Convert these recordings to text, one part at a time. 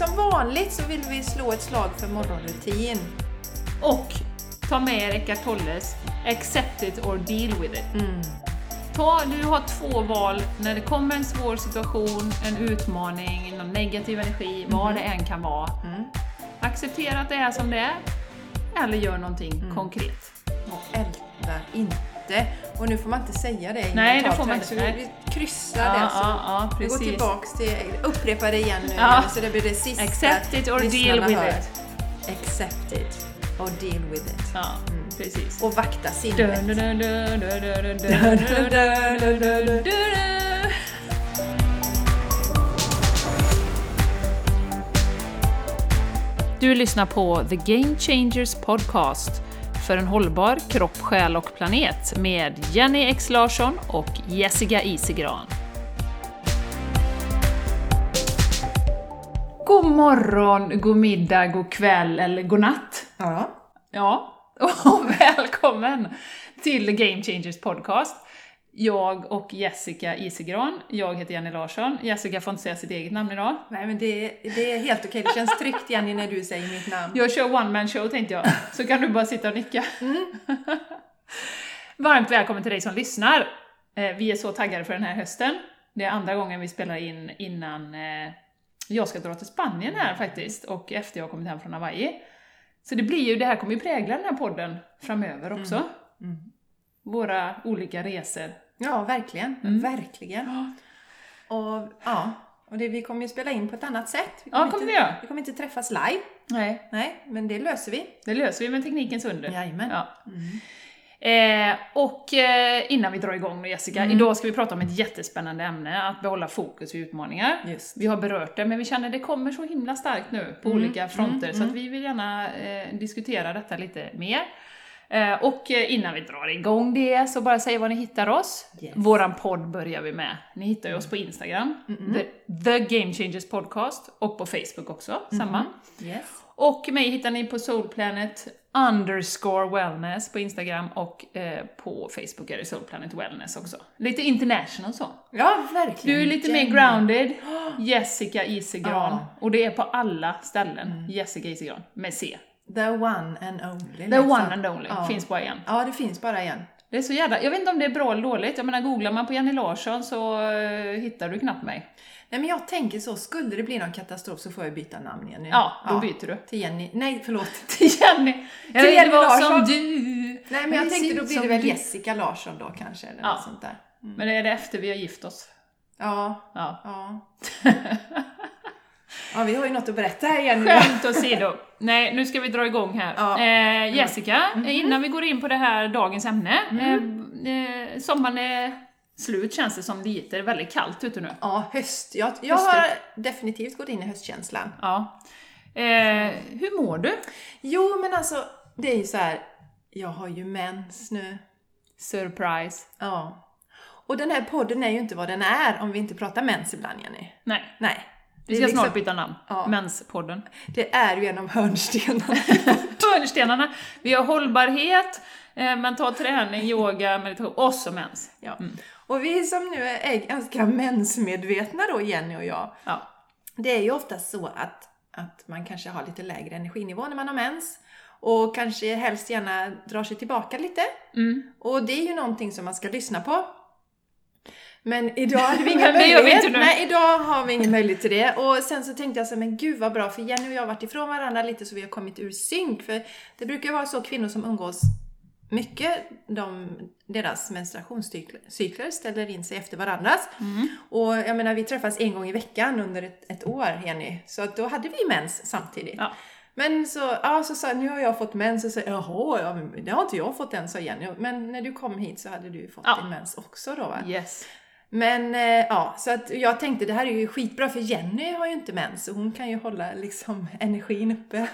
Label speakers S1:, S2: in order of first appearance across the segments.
S1: vanligt så vill vi slå ett slag för morgonrutin.
S2: Och ta med er Eckart Tolles Accept it or deal with it.
S1: Mm.
S2: Ta, du har två val när det kommer en svår situation, en utmaning, någon negativ energi, vad det än kan vara.
S1: Mm.
S2: Acceptera att det är som det är, eller gör någonting konkret.
S1: Och älta inte. Och nu får man inte säga det i
S2: Nej,
S1: mental
S2: det får man
S1: träning,
S2: inte.
S1: Så vi- vi kryssar
S2: Ja,
S1: det. Så
S2: ja, ja,
S1: vi går
S2: precis.
S1: tillbaks till, upprepa det igen nu
S2: Ja.
S1: så det blir det sista
S2: Accept it or
S1: lyssnarna
S2: deal with
S1: hör.
S2: it.
S1: Accept it or deal with it.
S2: Ja, precis.
S1: Och vakta
S2: Dun,
S1: sinnet.
S2: dun, dun, dun, dun, dun,
S1: Dun,
S2: dun,
S1: dun,
S2: dun.
S1: dun, dun, dun, dun, dun.
S2: Du lyssnar på The Game Changers Podcast för en hållbar kropp, själ och planet med Jenny X Larsson och Jessica Isigran. God morgon, god middag, god kväll eller god natt.
S1: Ja.
S2: Ja, och välkommen till Game Changers Podcast. Jag och Jessica Isigran, jag heter Jenny Larsson. Jessica får inte säga sitt eget namn idag.
S1: Nej men det, det är helt okej, det känns tryggt Jenny när du säger mitt namn.
S2: Jag kör one man show tänkte jag, så kan du bara sitta och nicka. Varmt välkommen till dig som lyssnar! Eh, Vi är så taggade för den här hösten. Det är andra gången vi spelar in innan eh, jag ska dra till Spanien här faktiskt, och efter jag har kommit hem från Hawaii. Så det blir ju, det här kommer ju prägla den här podden framöver också.
S1: Mm.
S2: Våra olika resor.
S1: Ja, verkligen.
S2: Mm.
S1: Verkligen. Och, ja, och det, vi kommer ju spela in på ett annat sätt. Vi
S2: Ja, kommer vi
S1: inte,
S2: göra.
S1: vi kommer inte träffas live,
S2: Nej,
S1: nej, men det löser vi.
S2: det löser vi med teknikens under.
S1: Jajamän.
S2: Ja.
S1: Mm.
S2: Eh, och eh, innan vi drar igång nu Jessica,
S1: Mm.
S2: idag ska vi prata om ett jättespännande ämne, att behålla fokus vid utmaningar.
S1: Just.
S2: Vi har berört det, men vi känner att det kommer så himla starkt nu på
S1: Mm,
S2: olika fronter,
S1: mm,
S2: så att
S1: mm.
S2: vi vill gärna eh, diskutera detta lite mer. Eh, och eh, innan vi drar igång det, så bara säg var ni hittar oss.
S1: Yes.
S2: Våran podd börjar vi med. Ni hittar ju oss på Instagram,
S1: Mm,
S2: the, the Game Changers Podcast, och på Facebook också, samma.
S1: Yes.
S2: Och mig hittar ni på Soulplanet underscore wellness på Instagram och eh, på Facebook är det Soulplanet wellness också. Lite international så.
S1: Ja, verkligen.
S2: Du är lite mer
S1: Jenny.
S2: grounded, Jessica Isegran.
S1: Ja.
S2: Och det är på alla ställen, Jessica Isegran, med C.
S1: The one and only. liksom.
S2: The one and only,
S1: Ja.
S2: finns bara en.
S1: Ja, det finns bara en.
S2: Det är så jävla, jag vet inte om det är bra eller dåligt, jag menar googlar man på Jenny Larsson så eh, hittar du knappt mig.
S1: Nej, men jag tänker så, skulle det bli någon katastrof så får jag byta namn igen nu.
S2: Ja, då byter du.
S1: Till Jenny. Nej, förlåt.
S2: Till Jenny! Jag
S1: Till
S2: vill
S1: Jenny
S2: vara
S1: Larsson.
S2: som du!
S1: Nej, men jag
S2: Precis
S1: tänkte då blir
S2: som
S1: det väl
S2: du.
S1: Jessica Larsson då kanske, eller
S2: Ja.
S1: något sånt där. Mm.
S2: Men det är det efter vi har gift oss.
S1: Ja,
S2: Ja.
S1: ja. Ja, vi har ju något att berätta här igen nu.
S2: Skämt åsido. Nej, nu ska vi dra igång här.
S1: Ja. Mm-hmm.
S2: Eh, Jessica, innan vi går in på det här dagens ämne.
S1: Mm.
S2: Eh, eh, sommaren är slut känns det som lite. Det är väldigt kallt ute nu.
S1: Ja, höst. Jag, jag
S2: Hösten.
S1: har definitivt gått in i höstkänslan.
S2: Ja. Eh, hur mår du?
S1: Jo, men alltså, det är ju så här. jag har ju mens nu.
S2: Surprise.
S1: Ja. Och den här podden är ju inte vad den är om vi inte pratar mens ibland, Jenny.
S2: Nej,
S1: Nej.
S2: vi ska
S1: är liksom-
S2: snart byta namn.
S1: Ja.
S2: Menspodden.
S1: Det är ju en av hörnstenarna.
S2: Hörnstenarna. Vi har hållbarhet, eh, mental träning, yoga, meditation och så mens.
S1: ja. Och vi som nu är ganska mensmedvetna då, Jenny och jag,
S2: Ja.
S1: Det är ju ofta så att, att man kanske har lite lägre energinivå när man har mens och kanske helst gärna drar sig tillbaka lite.
S2: Mm.
S1: Och det är ju någonting som man ska lyssna på. Men idag hade vi ingen
S2: Men det
S1: möjlighet.
S2: gör vi inte nu.
S1: Nej, idag har vi ingen möjlighet till det. Och sen så tänkte jag så här, men gud vad bra, för Jenny och jag har varit ifrån varandra lite så vi har kommit ur synk. För det brukar ju vara så kvinnor som umgås mycket, de, deras menstruationscykler ställer in sig efter varandras.
S2: Mm.
S1: Och jag menar, vi träffas en gång i veckan under ett, ett år, Jenny. Så att då hade vi mens samtidigt.
S2: Ja.
S1: Men så, ja, så sa nu har jag fått mens, och så jaha, ja, men det har inte jag fått än, sa Jenny. Men när du kom hit så hade du ju fått
S2: Ja.
S1: din mens också då va?
S2: Yes.
S1: Men eh, ja, så att jag tänkte det här är ju skitbra för Jenny har ju inte mens och hon kan ju hålla liksom energin uppe.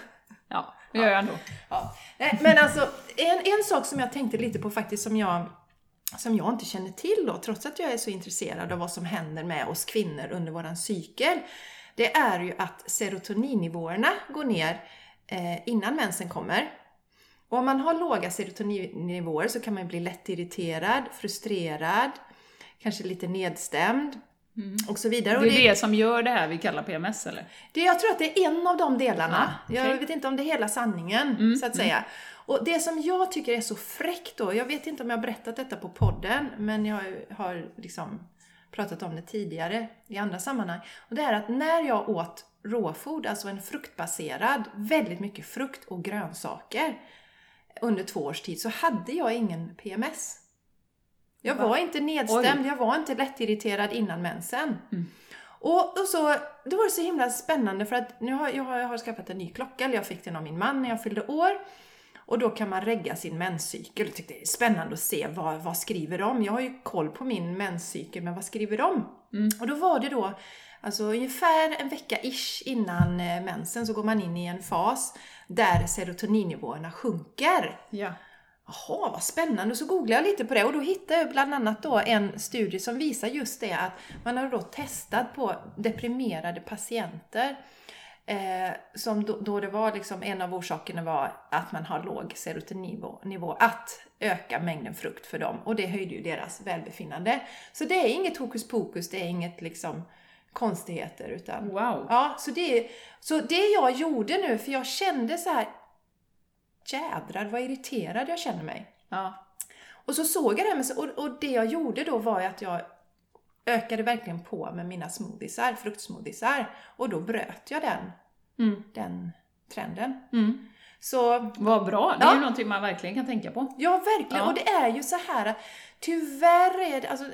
S2: Ja, det gör jag ändå.
S1: Ja. Nej, men alltså, en, en sak som jag tänkte lite på faktiskt som jag, som jag inte känner till då, trots att jag är så intresserad av vad som händer med oss kvinnor under våran cykel. Det är ju att serotoninnivåerna går ner eh, innan mensen kommer. Och om man har låga serotoninnivåer så kan man bli lätt irriterad, frustrerad, kanske lite nedstämd.
S2: Mm.
S1: och så vidare.
S2: Det
S1: Och
S2: är det som gör det här vi kallar PMS eller?
S1: Det, jag tror att det är en av de delarna.
S2: Ah, okej.
S1: Jag vet inte om det är hela sanningen,
S2: Mm,
S1: så att säga. Och det som jag tycker är så fräckt då, jag vet inte om jag har berättat detta på podden, men jag har liksom pratat om det tidigare i andra sammanhang. Och det är att när jag åt råfod, alltså en fruktbaserad, väldigt mycket frukt och grönsaker under två års tid, så hade jag ingen PMS. Jag
S2: Va?
S1: var inte nedstämd, jag var inte lättirriterad innan mensen. Och, och så, det var det så himla spännande för att nu har jag, har- jag har skaffat en ny klocka, eller jag fick den av min man när jag fyllde år. Och då kan man regga sin menscykel. Jag tyckte det är spännande att se vad, vad skriver de? Jag har ju koll på min menscykel, men vad skriver de?
S2: Mm.
S1: Och då var det då, alltså ungefär en vecka-ish innan eh, mensen så går man in i en fas där serotoninnivåerna sjunker.
S2: Ja.
S1: Jaha, vad spännande! Så googlade jag lite på det och då hittade jag bland annat då en studie som visar just det att man har då testat på deprimerade patienter eh, som då, då det var liksom en av orsakerna var att man har låg serotoninnivå, nivå, att öka mängden frukt för dem och det höjde ju deras välbefinnande. Så det är inget hokus pokus, det är inget liksom konstigheter utan
S2: Wow.
S1: Ja, så det, så det jag gjorde nu, för jag kände så här jädrar vad irriterad jag känner mig.
S2: Ja.
S1: Och så såg jag det, här med- och, och det jag gjorde då var ju att jag ökade verkligen på med mina smoothiesar, fruktsmoothiesar. Och då bröt jag den,
S2: Mm.
S1: den trenden.
S2: Mm.
S1: Så
S2: Vad bra, det är
S1: Ja.
S2: ju någonting man verkligen kan tänka på.
S1: Ja, verkligen.
S2: Ja.
S1: Och det är ju så här att tyvärr är det, alltså,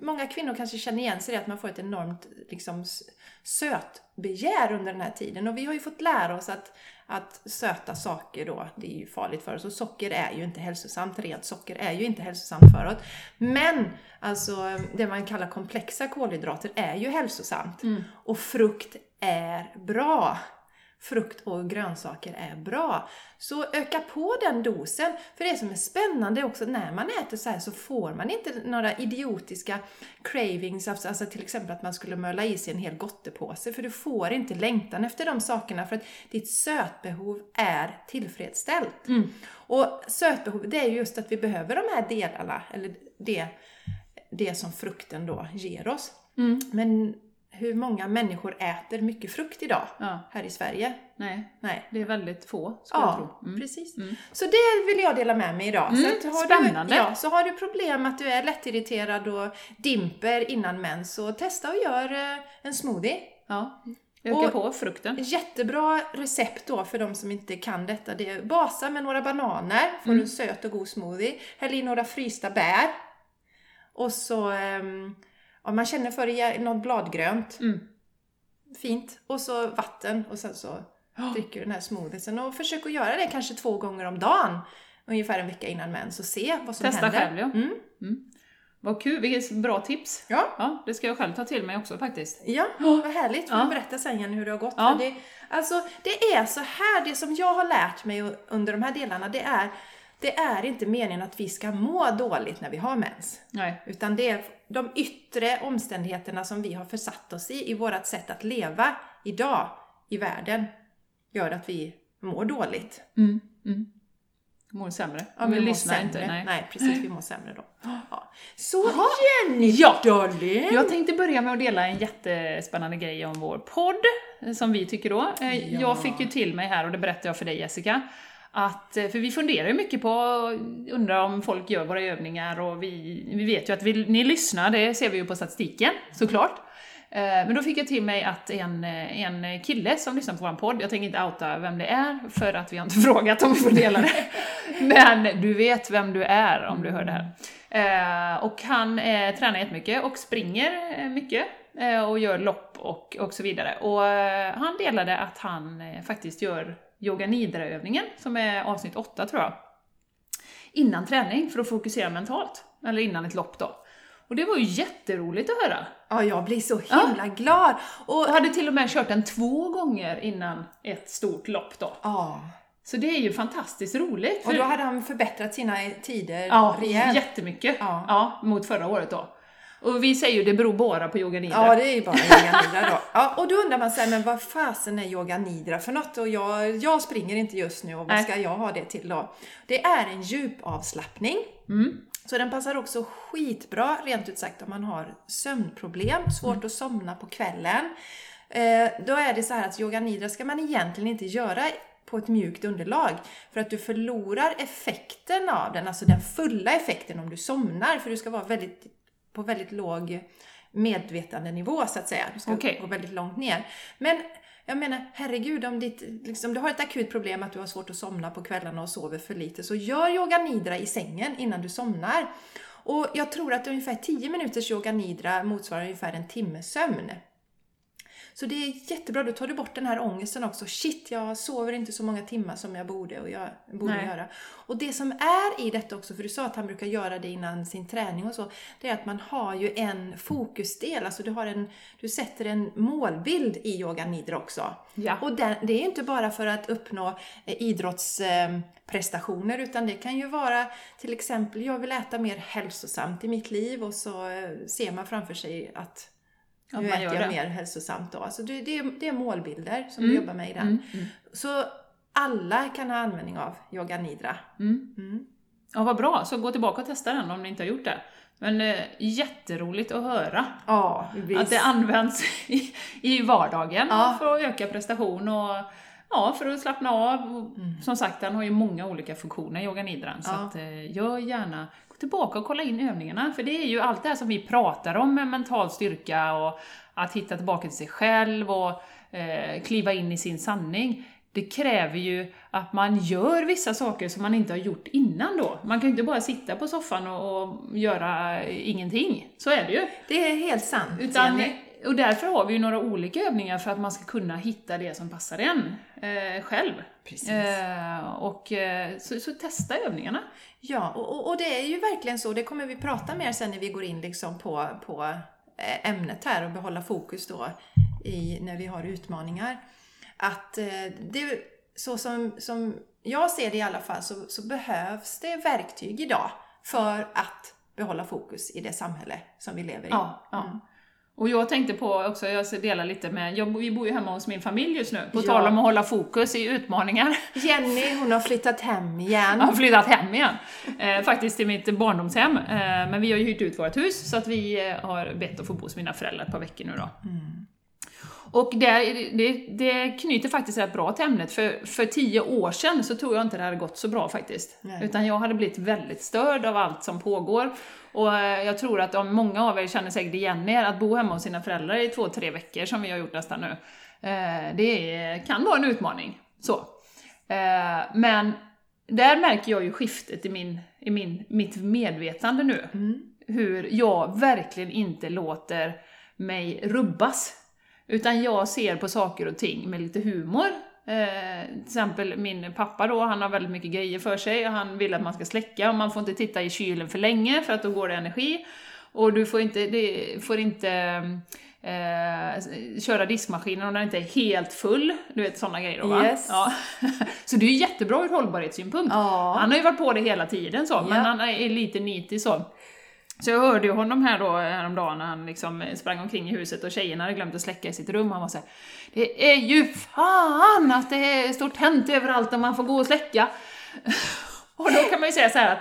S1: många kvinnor kanske känner igen sig i det att man får ett enormt liksom, s- sötbegär under den här tiden. Och vi har ju fått lära oss att, att söta saker då, det är ju farligt för oss. Och socker är ju inte hälsosamt, rent socker är ju inte hälsosamt för oss. Men alltså, det man kallar komplexa kolhydrater är ju hälsosamt. Och frukt är bra. Frukt och grönsaker är bra. Så öka på den dosen. För det som är spännande också, när man äter så här så får man inte några idiotiska cravings, alltså alltså till exempel att man skulle möla i sig en hel gottepåse, för du får inte längtan efter de sakerna för att ditt sötbehov är tillfredsställt.
S2: Mm.
S1: Och sötbehov, det är ju just att vi behöver de här delarna, eller det, det som frukten då ger oss.
S2: Mm.
S1: Men hur många människor äter mycket frukt idag
S2: Ja.
S1: här i Sverige?
S2: Nej,
S1: Nej.
S2: det är väldigt få skulle jag
S1: Ja,
S2: tro. Mm.
S1: precis.
S2: Mm.
S1: Så det vill jag dela med mig idag.
S2: Mm,
S1: så har
S2: spännande.
S1: Du, ja, så har du problem att du är lättirriterad och dimper innan mens, så testa och gör eh, en smoothie.
S2: Ja. Öka
S1: Och-
S2: på frukten.
S1: Jättebra recept då för de som inte kan detta. Det är basa med några bananer, får
S2: Mm.
S1: du en söt och god smoothie. Häll i några frysta bär. Och så, ehm, om man känner för det, ge- något bladgrönt.
S2: Mm.
S1: Fint. Och så vatten och sen så
S2: Ja.
S1: dricker du den här smoothiesen. Och försök att göra det kanske två gånger om dagen. Ungefär en vecka innan mens och se vad som
S2: Testa
S1: händer.
S2: själv, ja.
S1: Mm.
S2: Vad kul, vilket bra tips.
S1: Ja.
S2: Ja, det ska jag själv ta till mig också faktiskt.
S1: Ja, vad härligt. Får
S2: Ja.
S1: du berätta sen Jenny hur det har gått.
S2: Ja.
S1: För Det, alltså, det är så här, det som jag har lärt mig u- under de här delarna, det är det är inte meningen att vi ska må dåligt när vi har mens.
S2: Nej.
S1: Utan det är de yttre omständigheterna som vi har försatt oss i, i vårt sätt att leva idag i världen, gör att vi mår dåligt.
S2: Mm. Mm. Mår sämre.
S1: Ja,
S2: vi
S1: vi mår
S2: lyssnar
S1: sämre.
S2: inte. Nej.
S1: precis, vi mår sämre då. Ja. Så
S2: Jaha.
S1: Jenny,
S2: Ja.
S1: darling!
S2: Jag tänkte börja med att dela en jättespännande grej om vår podd, eh, som vi tycker då. Eh,
S1: Ja.
S2: Jag fick ju till mig här, och det berättade jag för dig Jessica, att, eh, för vi funderar ju mycket på, undrar om folk gör våra övningar och vi, vi vet ju att vi, ni lyssnar, det ser vi ju på statistiken såklart. Eh, Men då fick jag till mig att en, eh, en kille som lyssnar på vår podd, jag tänker inte outa vem det är för att vi har inte frågat om vi får dela det. Men du vet vem du är om du hör det här. Eh, och han eh, tränar jättemycket och springer eh, mycket eh, och gör lopp och, och så vidare. Och eh, han delade att han eh, faktiskt gör yoga nidra-övningen, som är avsnitt 8 tror jag, innan träning för att fokusera mentalt. Eller innan ett lopp då. Och det var ju jätteroligt att höra.
S1: Ja, jag blir så himla glad! Och,
S2: Och hade till och med kört den två gånger innan ett stort lopp då.
S1: ja.
S2: Så det är ju fantastiskt roligt.
S1: och
S2: för-
S1: då hade han förbättrat sina tider
S2: Ja,
S1: rejält.
S2: jättemycket. Ja.
S1: Ja.
S2: mot förra året då. Och vi säger ju det beror bara på yoga nidra.
S1: Ja, det är ju bara yoga nidra då. Ja, och då undrar man sig, men vad fasen är yoga nidra för något? Och jag, jag springer inte just nu och vad
S2: Nej.
S1: ska jag ha det till då? Det är en djupavslappning
S2: Mm.
S1: Så den passar också skitbra, rent ut sagt, om man har sömnproblem, svårt att somna på kvällen. Eh, då är det så här att yoga nidra ska man egentligen inte göra på ett mjukt underlag. För att du förlorar effekten av den, alltså den fulla effekten om du somnar. För du ska vara väldigt, på väldigt låg medvetandenivå så att säga. Du ska
S2: Okej.
S1: gå väldigt långt ner. Men jag menar, herregud, om ditt, liksom, du har ett akut problem att du har svårt att somna på kvällarna och sover för lite, så gör yoga nidra i sängen innan du somnar. Och jag tror att ungefär 10 minuters yoga nidra motsvarar ungefär en timmes sömn. Så det är jättebra, då tar du bort den här ångesten också. Shit, jag sover inte så många timmar som jag borde, och jag borde
S2: Nej.
S1: göra. Och det som är i detta också, för du sa att han brukar göra det innan sin träning och så, det är att man har ju en fokusdel, alltså du, har en, du sätter en målbild i yoga nidra också.
S2: Ja.
S1: Och den, det är ju inte bara för att uppnå eh, idrottsprestationer utan det kan ju vara till exempel, jag vill äta mer hälsosamt i mitt liv och så eh, ser man framför sig att
S2: Att
S1: nu
S2: man
S1: äter
S2: gör
S1: jag
S2: det.
S1: mer hälsosamt då. Alltså det, det, är, det är målbilder som
S2: Mm.
S1: du jobbar med i den.
S2: Mm. Mm.
S1: Så alla kan ha användning av yoga nidra.
S2: Mm.
S1: Mm.
S2: Ja, vad bra. Så gå tillbaka och testa den om ni inte har gjort det. Men eh, jätteroligt att höra
S1: Ja,
S2: att det används i, i vardagen
S1: Ja.
S2: för att öka prestation och ja, för att slappna av. Och Som sagt, den har ju många olika funktioner, yoga nidran. Så
S1: Mm. Ja.
S2: att, eh, gör gärna, gå tillbaka och kolla in övningarna. För det är ju allt det här som vi pratar om med mental styrka och att hitta tillbaka till sig själv och eh, kliva in i sin sanning. Det kräver ju att man gör vissa saker som man inte har gjort innan då. Man kan ju inte bara sitta på soffan och, och göra ingenting. Så är det ju.
S1: det är helt sant.
S2: Utan,
S1: Jenny.
S2: och därför har vi ju några olika övningar för att man ska kunna hitta det som passar en eh, själv.
S1: Precis.
S2: Eh, och, eh, så, så testa övningarna.
S1: Ja, och, och, och det är ju verkligen så. Det kommer vi prata mer sen när vi går in liksom på, på eh, ämnet här och behålla fokus då i, när vi har utmaningar. Att eh, det, så som, som jag ser det i alla fall så, så behövs det verktyg idag för att behålla fokus i det samhälle som vi lever i.
S2: Ja, ja.
S1: Mm.
S2: Och jag tänkte på också, jag delar lite med, jag, bo- vi bor ju hemma hos min familj just nu, på
S1: Ja. Mm.
S2: tal om att hålla fokus i utmaningar.
S1: Jenny, hon har flyttat hem
S2: Jag har
S1: igen.
S2: flyttat hem igen. Eh, faktiskt till mitt barndomshem. Eh, men vi har ju hyrt ut vårt hus, så att vi eh, har bett att få bo hos mina föräldrar ett par veckor nu då. Och det, det, det knyter faktiskt rätt bra till ämnet, för för tio år sedan så tror jag inte det hade gått så bra faktiskt.
S1: Nej.
S2: Utan jag hade blivit väldigt störd av allt som pågår. Och eh, jag tror att om många av er känner säkert igen er, att bo hemma hos sina föräldrar i två, tre veckor som vi har gjort nästan nu, eh, det är- kan vara en utmaning. Så. Eh, Men där märker jag ju skiftet i, min, i min, mitt medvetande nu
S1: Mm.
S2: hur jag verkligen inte låter mig rubbas. Utan jag ser på saker och ting med lite humor. Eh, till exempel min pappa då, han har väldigt mycket grejer för sig och han vill att man ska släcka och man får inte titta i kylen för länge för att då går det energi. Och du får inte, det, får inte eh, köra diskmaskinen om den inte är helt full. Du vet sådana grejer då va?
S1: Yes.
S2: Ja. Så det är ju jättebra ur hållbarhetssynpunkt.
S1: Ja.
S2: Han har ju varit på det hela tiden så, men
S1: Ja.
S2: han är lite nitig så. Så jag hörde ju honom här då häromdagen när han liksom sprang omkring i huset och tjejerna hade glömt att släcka i sitt rum. Han var såhär Det är ju fan att det är- står tänt överallt och man får gå och släcka. Och då kan man ju säga så här att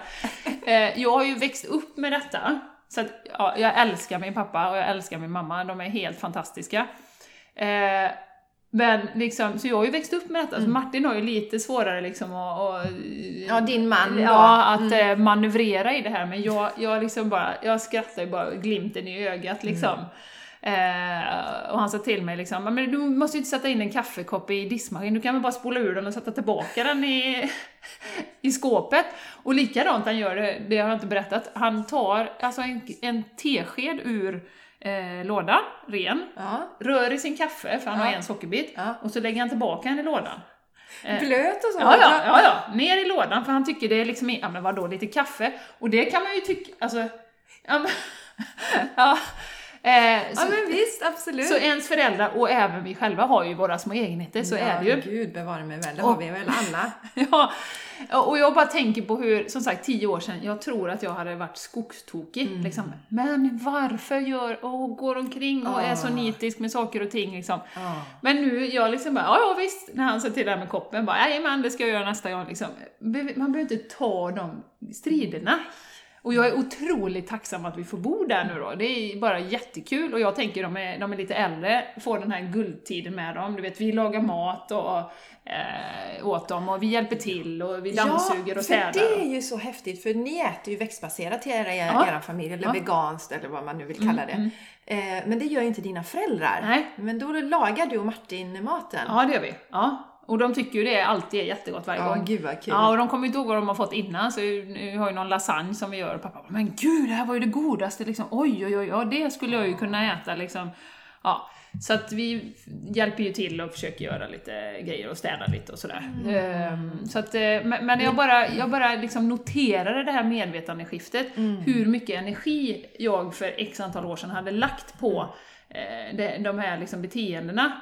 S2: eh, jag har ju växt upp med detta. Så att ja, jag älskar min pappa och jag älskar min mamma, de är helt fantastiska. Eh, men liksom, så jag har ju växt upp med detta, så Martin har ju lite svårare liksom att, att
S1: Mm. ja, din man då. Mm.
S2: Ja, att eh, manövrera i det här, men jag, jag, liksom bara, jag skrattar ju bara glimten i ögat
S1: Mm.
S2: liksom. Eh, och han sa till mig liksom, men du måste ju inte sätta in en kaffekopp i diskmaskinen, du kan väl bara spola ur den och sätta tillbaka den i, i skåpet. Och likadant han gör det, det har jag inte berättat, han tar alltså en, en tesked ur eh, lådan, ren,
S1: Ja.
S2: rör i sin kaffe, för han har
S1: Ja.
S2: en sockerbit,
S1: Ja.
S2: och så lägger han tillbaka den i lådan.
S1: Blöt och så.
S2: Ja, ja, ja, ja, ner i lådan för han tycker det är liksom, ja men vadå, lite kaffe? Och det kan man ju tycka, alltså, ja men, ja. Eh,
S1: ja
S2: så,
S1: men visst, absolut.
S2: så ens föräldrar och även vi själva har ju våra små egenheter, så är det ju.
S1: Gud bevare mig väl, det har vi väl alla.
S2: Ja, och jag bara tänker på hur, som sagt, tio år sedan, jag tror att jag hade varit skogstokig.
S1: Mm.
S2: Liksom. Men varför gör, och går omkring och är så
S1: Ah.
S2: nitisk med saker och ting liksom.
S1: Ja.
S2: Men nu, jag liksom bara, ja, ja visst, när han sa till det här med koppen, bara, men det ska jag göra nästa gång liksom. Be- Man behöver inte ta de striderna. Och jag är otroligt tacksam att vi får bo där nu då. Det är bara jättekul och jag tänker de är, de är lite äldre, får den här guldtiden med dem. Du vet, vi lagar mat och, eh, åt dem och vi hjälper till och vi dammsuger och
S1: för
S2: städar.
S1: det är ju så häftigt för ni äter ju växtbaserat i era,
S2: Ja.
S1: era familj, eller
S2: Ja.
S1: veganskt eller vad man nu vill
S2: Mm,
S1: kalla det.
S2: mm.
S1: Eh, men det gör ju inte dina föräldrar.
S2: Nej.
S1: Men då lagar du och Martin maten.
S2: Ja, det gör vi. Ja. Och de tycker ju det alltid är jättegott varje
S1: Ja,
S2: gång.
S1: gud vad kul.
S2: Ja, och de kommer ju inte ihåg vad de har fått innan, så vi har ju någon lasagne som vi gör och pappa bara, men gud, det här var ju det godaste liksom. Oj, oj, oj, oj det skulle jag ju kunna äta liksom. Ja, så att vi hjälper ju till och försöker göra lite grejer och städa lite och sådär. Ehm, så att, eh, men men jag bara, jag bara liksom noterade det här medvetandeskiftet, hur mycket energi jag för x antal år sedan hade lagt på eh, de- de här liksom beteendena.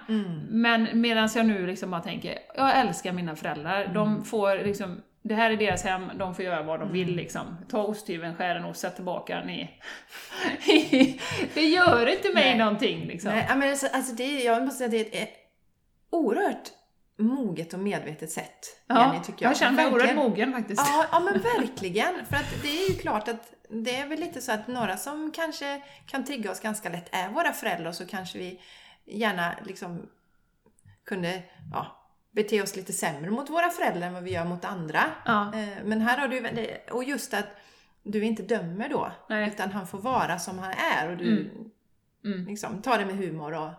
S2: Men medan jag nu liksom bara tänker, jag älskar mina föräldrar.
S1: Mm.
S2: De får liksom, det här är deras hem, de får göra vad de vill liksom. Ta osthyveln, skär en ost, sätt tillbaka den i... det gör inte mig
S1: Nej.
S2: någonting liksom.
S1: Nej, ja, men alltså, alltså det, är- jag måste säga att det är ett oerhört moget och medvetet sätt,
S2: Ja,
S1: Jenny, tycker jag.
S2: jag. känner mig oerhört
S1: Verkligen.
S2: mogen faktiskt.
S1: Ja, ja, men verkligen. För att det är ju klart att det är väl lite så att några som kanske kan trigga oss ganska lätt är våra föräldrar och så kanske vi gärna liksom kunde ja, bete oss lite sämre mot våra föräldrar än vad vi gör mot andra.
S2: Ja.
S1: Eh, Men här har du väl- det- och just att du inte dömer då,
S2: Nej.
S1: utan han får vara som han är och du
S2: Mm.
S1: Liksom, tar det med humor. Och,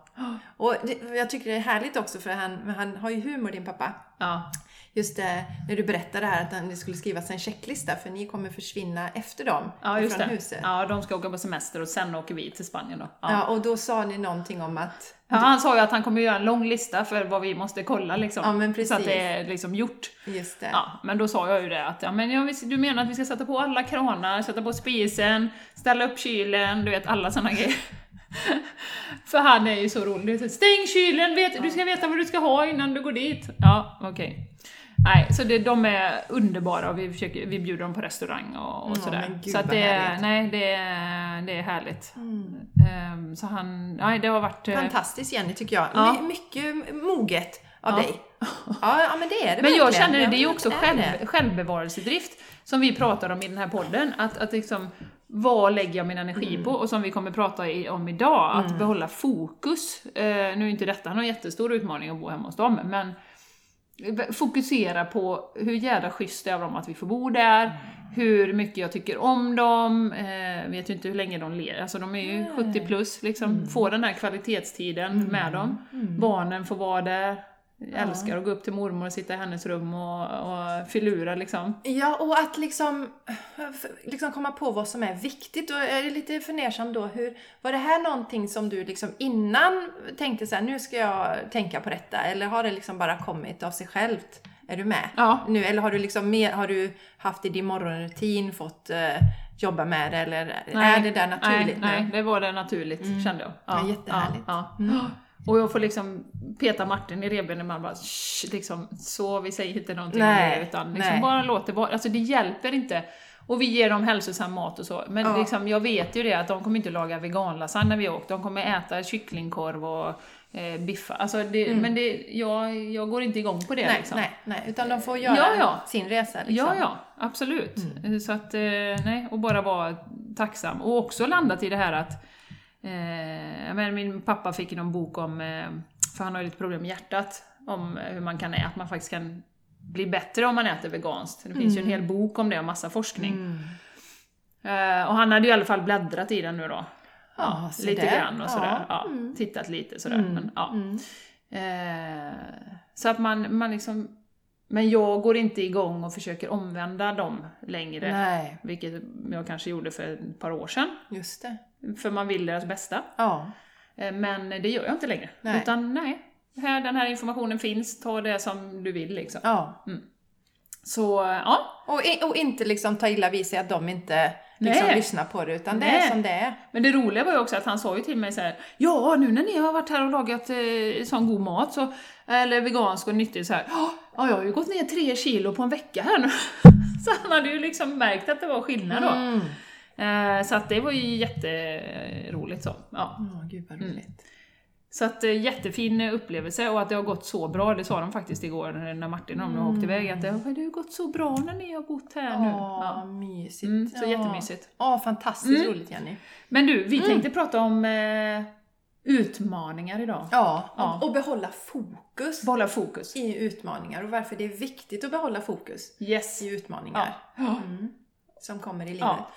S1: och det, jag tycker det är härligt också för han, men han har ju humor din pappa.
S2: Ja.
S1: Just det, när du berättade här att det skulle skrivas en checklista för ni kommer försvinna efter dem
S2: ja, just
S1: från
S2: det.
S1: huset. Ja.
S2: Ja, de ska åka på semester och sen åker vi till Spanien då. Ja.
S1: och då sa ni någonting om att...
S2: Ja, han sa ju att han kommer göra en lång lista för vad vi måste kolla liksom.
S1: Ja, men
S2: Så att det
S1: precis.
S2: är liksom gjort.
S1: Just det.
S2: Ja, men då sa jag ju det att ja, men jag, visst- du menar att vi ska sätta på alla kranar, sätta på spisen, ställa upp kylen, du vet alla sådana grejer. För han är ju så rolig. Så, Stäng kylen, vet, du ska veta vad du ska ha innan du går dit. Ja, okej. Nej, så det, de är underbara och vi, försöker, vi bjuder dem på restaurang och, och
S1: Ja,
S2: sådär.
S1: men gud,
S2: så att
S1: vad
S2: det, är-
S1: härligt.
S2: nej, det, är- det är härligt.
S1: Mm.
S2: Ehm, så han, nej det har varit... eh,
S1: Fantastiskt Jenny tycker jag.
S2: Ja.
S1: My, mycket moget av
S2: Ja.
S1: dig. Ja, ja, men det är det
S2: Men jag
S1: verkligen.
S2: känner det,
S1: Ja,
S2: det är ju
S1: men
S2: också
S1: det är
S2: själv,
S1: det.
S2: självbevarelsedrift som vi pratar om i den här podden. Att, att liksom, vad lägger jag min energi
S1: Mm.
S2: på? Och som vi kommer prata i, om idag, att behålla fokus. Eh, nu är inte detta någon jättestor utmaning att bo hemma hos dem, men fokusera på hur jädra schysst det är av dem att vi får bo där, hur mycket jag tycker om dem, eh, vet ju inte hur länge de ler, alltså de är ju 70 plus, liksom, få den här kvalitetstiden med dem. Barnen får vara där, jag älskar att gå upp till mormor och sitta i hennes rum och, och filura liksom.
S1: Ja, och att liksom, liksom komma på vad som är viktigt. Och jag är lite fundersam då, hur, var det här någonting som du liksom innan tänkte så här, nu ska jag tänka på detta? Eller har det liksom bara kommit av sig självt? Är du med?
S2: Ja.
S1: Nu, eller har du, liksom mer, har du haft i din morgonrutin fått eh, jobba med det? Eller är det där naturligt nu?
S2: nej, Nej, det var det naturligt kände jag.
S1: Ja, jättehärligt. Mm.
S2: Ja, ja. Och jag får liksom peta Martin i revbenen man bara "Shh", liksom, så vi säger inte någonting
S1: Nej,
S2: om det utan liksom
S1: nej.
S2: bara låt det vara. Alltså det hjälper inte. Och vi ger dem hälsosam mat och så. Men
S1: Ja.
S2: liksom, jag vet ju det att de kommer inte laga veganlasagne när vi åkt. De kommer äta kycklingkorv och eh, biffa. Alltså det, Men det, jag, jag går inte igång på det
S1: Mm. Nej,
S2: liksom.
S1: nej, nej, utan de får göra
S2: Ja, ja.
S1: sin resa. Liksom. Mm.
S2: Ja, ja, absolut. Eh, Så att, eh, nej, och bara vara tacksam. Och också landat i det här att, eh, jag menar, min pappa fick ju någon bok om, eh, för han har ju lite problem med hjärtat, om eh, hur man kan äta, att man faktiskt kan bli bättre om man äter veganskt. Det finns ju en
S1: Mm.
S2: hel bok om det och massa forskning. Eh, och han hade ju i alla fall bläddrat i den nu då.
S1: Ja, se
S2: lite
S1: där.
S2: grann och sådär. Ja,
S1: Ja, mm.
S2: Tittat lite sådär.
S1: Mm,
S2: Men, ja.
S1: mm.
S2: Eh, så att man, man liksom... Men jag går inte igång och försöker omvända dem längre.
S1: Nej,
S2: Vilket jag kanske gjorde för ett par år sedan.
S1: just det.
S2: För man vill deras bästa.
S1: Ja.
S2: Eh, Men det gör jag inte längre.
S1: Nej.
S2: Utan nej, här, den här informationen finns, ta det som du vill liksom.
S1: ja.
S2: Så eh, ja,
S1: Och, i- och inte liksom ta illa vid sig att de inte liksom
S2: Nej.
S1: lyssnar på det, utan det
S2: Nej.
S1: är som det är.
S2: Men det roliga var ju också att han sa ju till mig så här: Ja, nu när ni har varit här och lagat eh, sån god mat, så, eller vegansk och nyttig så här, "Ja, Ja, jag har ju gått ner tre kilo på en vecka här nu. så han hade ju liksom märkt att det var skillnad då.
S1: Mm.
S2: Eh, så att det var ju jätteroligt så. Ja.
S1: Åh, gud vad roligt.
S2: Så att eh, jättefin upplevelse och att det har gått så bra, det sa de faktiskt igår när Martin och de åkte iväg, att det har det har gått så bra när ni har bott här nu.
S1: Åh,
S2: Ja.
S1: mysigt.
S2: Mm, så
S1: Ja.
S2: jättemysigt.
S1: Åh, fantastiskt
S2: Mm.
S1: roligt Jenny.
S2: Men du, vi tänkte prata om eh, utmaningar idag.
S1: Ja,
S2: Ja.
S1: och behålla fokus
S2: Behålla fokus.
S1: i utmaningar och varför det är viktigt att behålla fokus
S2: Yes.
S1: i utmaningar
S2: Ja.
S1: mm, som kommer i livet.
S2: Ja.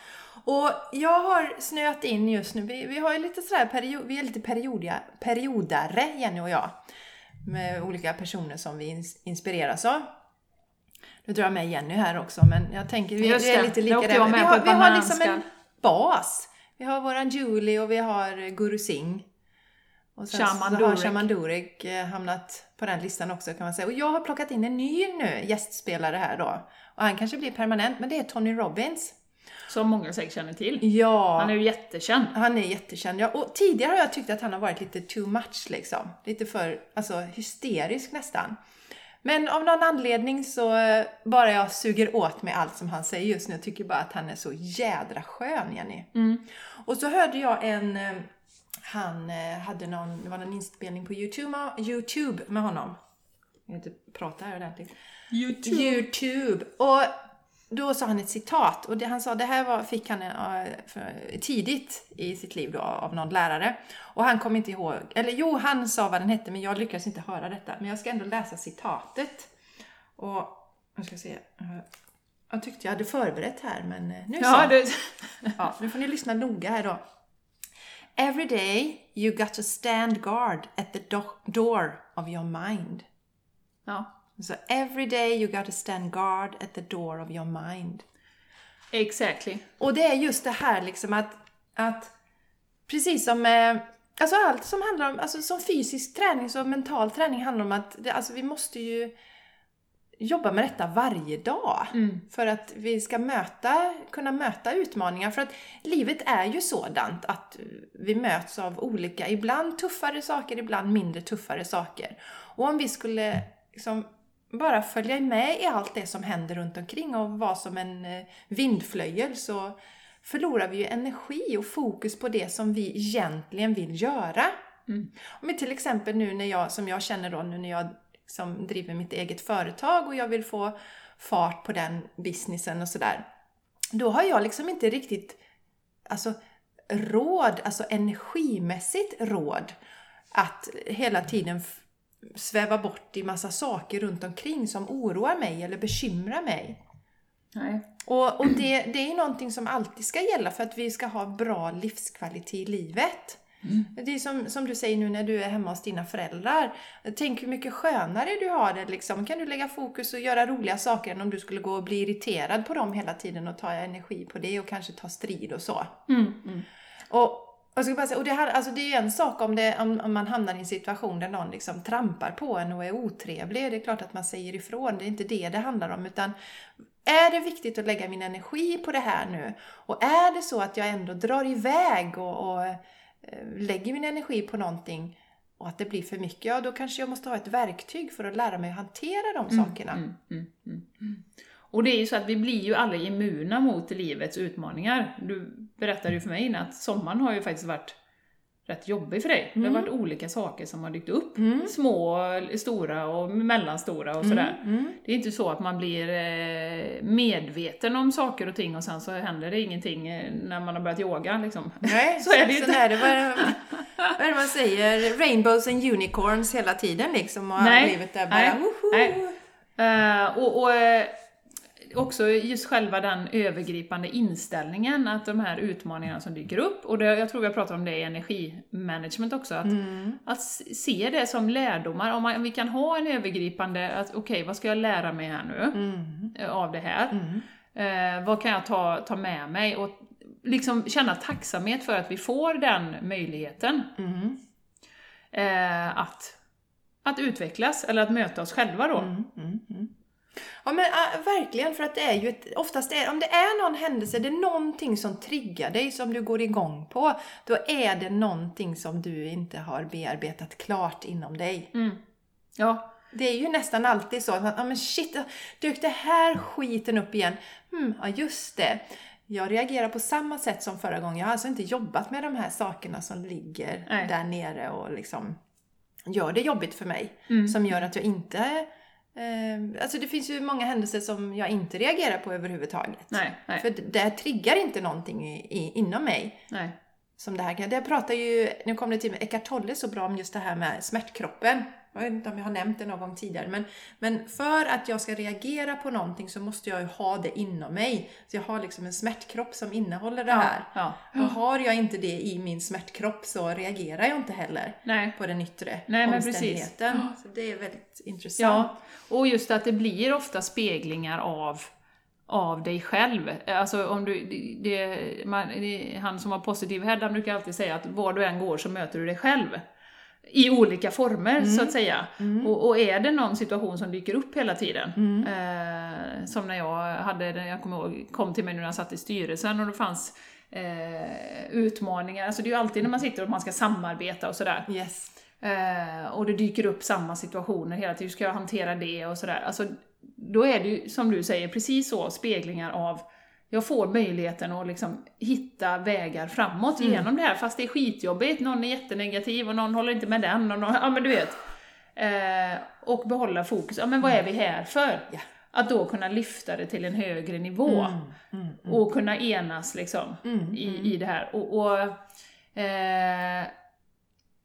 S1: Och jag har snöat in just nu, vi, vi har ju lite sådär period, vi är lite periodiga, periodare Jenny och jag. Med olika personer som vi ins- inspireras av. Nu drar jag med Jenny här också men jag tänker vi,
S2: Just
S1: vi är
S2: det,
S1: lite
S2: det
S1: lika
S2: åkte
S1: där.
S2: jag med
S1: vi,
S2: på
S1: har,
S2: ett
S1: vi har liksom
S2: bananskal.
S1: en bas. Vi har våran Julie och vi har Guru Singh. Och sen
S2: Shaman
S1: så har
S2: Durek.
S1: Shaman Durek eh, hamnat på den listan också kan man säga. Och jag har plockat in en ny nu gästspelare här då. Och han kanske blir permanent, men det är Tony Robbins.
S2: Som många säkert känner till.
S1: Ja,
S2: Han är ju jättekänd.
S1: jättekänd. Ja, och tidigare har jag tyckt att han har varit lite too much liksom. Lite för, alltså hysterisk nästan. Men av någon anledning så eh, bara jag suger åt mig allt som han säger just nu. Jag tycker bara att han är så jädra skön, Jenny.
S2: Mm.
S1: Och så hörde jag en... eh, Han eh, hade någon, det var någon inspelning på YouTube, med- YouTube med honom. Jag kan inte prata här ordentligt.
S2: YouTube.
S1: YouTube! Och då sa han ett citat och det han sa, det här var, fick han eh, för, tidigt i sitt liv då av någon lärare. Och han kom inte ihåg, eller jo han sa vad den hette men jag lyckades inte höra detta. Men jag ska ändå läsa citatet. Och nu ska jag se. eh, Jag tyckte jag hade förberett här men eh, nu så.
S2: Ja, det,
S1: Ja, nu får ni lyssna noga här då. Every day you got to stand guard at the do- door of your mind.
S2: ja,
S1: Så every day you got to stand guard at the door of your mind.
S2: exactly.
S1: Och det är just det här liksom att, att precis som eh, alltså allt som handlar om alltså som fysisk träning så mental träning handlar om att det, alltså vi måste ju jobba med detta varje dag
S2: Mm.
S1: för att vi ska möta, kunna möta utmaningar. För att livet är ju sådant att vi möts av olika, ibland tuffare saker, ibland mindre tuffare saker. Och om vi skulle liksom bara följa med i allt det som händer runt omkring och vara som en eh, vindflöjel så förlorar vi ju energi och fokus på det som vi egentligen vill göra.
S2: Mm.
S1: Men till exempel nu när jag, som jag känner då, nu när jag liksom driver mitt eget företag och jag vill få fart på den businessen och sådär. Då har jag liksom inte riktigt alltså, råd, alltså energimässigt råd att hela tiden f- sväva bort i massa saker runt omkring som oroar mig eller bekymrar mig.
S2: Nej.
S1: Och, och det, det är ju någonting som alltid ska gälla för att vi ska ha bra livskvalitet i livet.
S2: Mm.
S1: Det är som, som du säger nu när du är hemma hos dina föräldrar. Tänk hur mycket skönare du har det liksom. Kan du lägga fokus och göra roliga saker än om du skulle gå och bli irriterad på dem hela tiden och ta energi på det och kanske ta strid och så.
S2: Mm. Mm.
S1: Och, jag ska bara säga, och det, här, alltså det är ju en sak om, det, om, om man hamnar i en situation där någon liksom trampar på en och är otrevlig. Det är klart att man säger ifrån, det är inte det det handlar om. Utan är det viktigt att lägga min energi på det här nu? Och är det så att jag ändå drar iväg och, och eh, lägger min energi på någonting och att det blir för mycket, ja då kanske jag måste ha ett verktyg för att lära mig att hantera de sakerna.
S2: Mm, mm, mm, mm. Och det är ju så att vi blir ju aldrig immuna mot livets utmaningar. Du berättade ju för mig innan att sommaren har ju faktiskt varit rätt jobbig för dig. Det
S1: Mm.
S2: har varit olika saker som har dykt upp.
S1: Mm.
S2: Små, stora och mellanstora och sådär.
S1: Mm, mm.
S2: Det är inte så att man blir eh, medveten om saker och ting och sen så händer det ingenting eh, när man har börjat yoga liksom.
S1: Nej,
S2: Så är det ju
S1: sen
S2: inte.
S1: Är det, vad, är det, vad är det man säger? Rainbows and unicorns hela tiden liksom. Och
S2: Nej,
S1: livet är bara
S2: nej,
S1: woho!
S2: nej. Eh, och, och eh, också just själva den övergripande inställningen att de här utmaningarna som dyker upp, och det, jag tror vi har pratat om det i energimanagement också, att,
S1: Mm.
S2: att s- se det som lärdomar. Om, man, om vi kan ha en övergripande, att okej, vad ska jag lära mig här nu
S1: Mm.
S2: eh, av det här?
S1: Mm.
S2: Eh, vad kan jag ta, ta med mig? Och liksom känna tacksamhet för att vi får den möjligheten
S1: Mm.
S2: eh, att, att utvecklas, eller att möta oss själva då.
S1: Mm, mm, mm. Ja men ah, verkligen, för att det är ju ett, oftast är, om det är någon händelse, det är någonting som triggar dig, som du går igång på, då är det någonting som du inte har bearbetat klart inom dig.
S2: Mm. Ja,
S1: Det är ju nästan "Ah, alltid så att man, ja men shit, dök det här skiten upp igen? Hmm, ja just det. jag reagerar på samma sätt som förra gången. Jag har alltså inte jobbat med de här sakerna som ligger
S2: Nej.
S1: där nere och liksom gör det jobbigt för mig.
S2: Mm.
S1: Som gör att jag inte... Eh, alltså det finns ju många händelser som jag inte reagerar på överhuvudtaget.
S2: Nej, nej,
S1: För det- det här triggar inte någonting i, i, inom mig.
S2: nej.
S1: Som det här kan... Det jag pratar ju... Nu kom det till mig, Eckart Tolle så bra om just det här med smärtkroppen. Jag vet inte om jag har nämnt det någon gång tidigare. Men, men för att jag ska reagera på någonting så måste jag ju ha det inom mig. Så jag har liksom en smärtkropp som innehåller det här.
S2: Ja.
S1: Och har jag inte det i min smärtkropp så reagegerar jag inte heller
S2: Nej.
S1: på den yttre
S2: Nej, men precis.
S1: omständigheten. Så det är väldigt intressant.
S2: Ja, och just att det blir ofta speglingar av, av dig själv. Alltså om du, det, man, det, han som har positiv head, han brukar alltid säga att var du än går så möter du dig själv. I olika former, så att säga. Och, och är det någon situation som dyker upp hela tiden, eh, som när jag hade, den- jag kommer ihåg, kom till mig nu när jag satt i styrelsen och det fanns eh, utmaningar, alltså det är ju alltid när man sitter och man ska samarbeta och sådär.
S1: Yes.
S2: Eh, och det dyker upp samma situationer hela tiden, hur ska jag hantera det och sådär. Alltså, då är det ju, som du säger, precis så speglingar av jag får möjligheten att liksom hitta vägar framåt genom det här, fast det är skitjobbigt, någon är jättenegativ och någon håller inte med den och någon, ja men du vet. Eh, och behålla fokus, ja men vad är vi här för?
S1: Ja.
S2: Att då kunna lyfta det till en högre nivå och kunna enas liksom
S1: Mm,
S2: i, i det här. Och, och eh,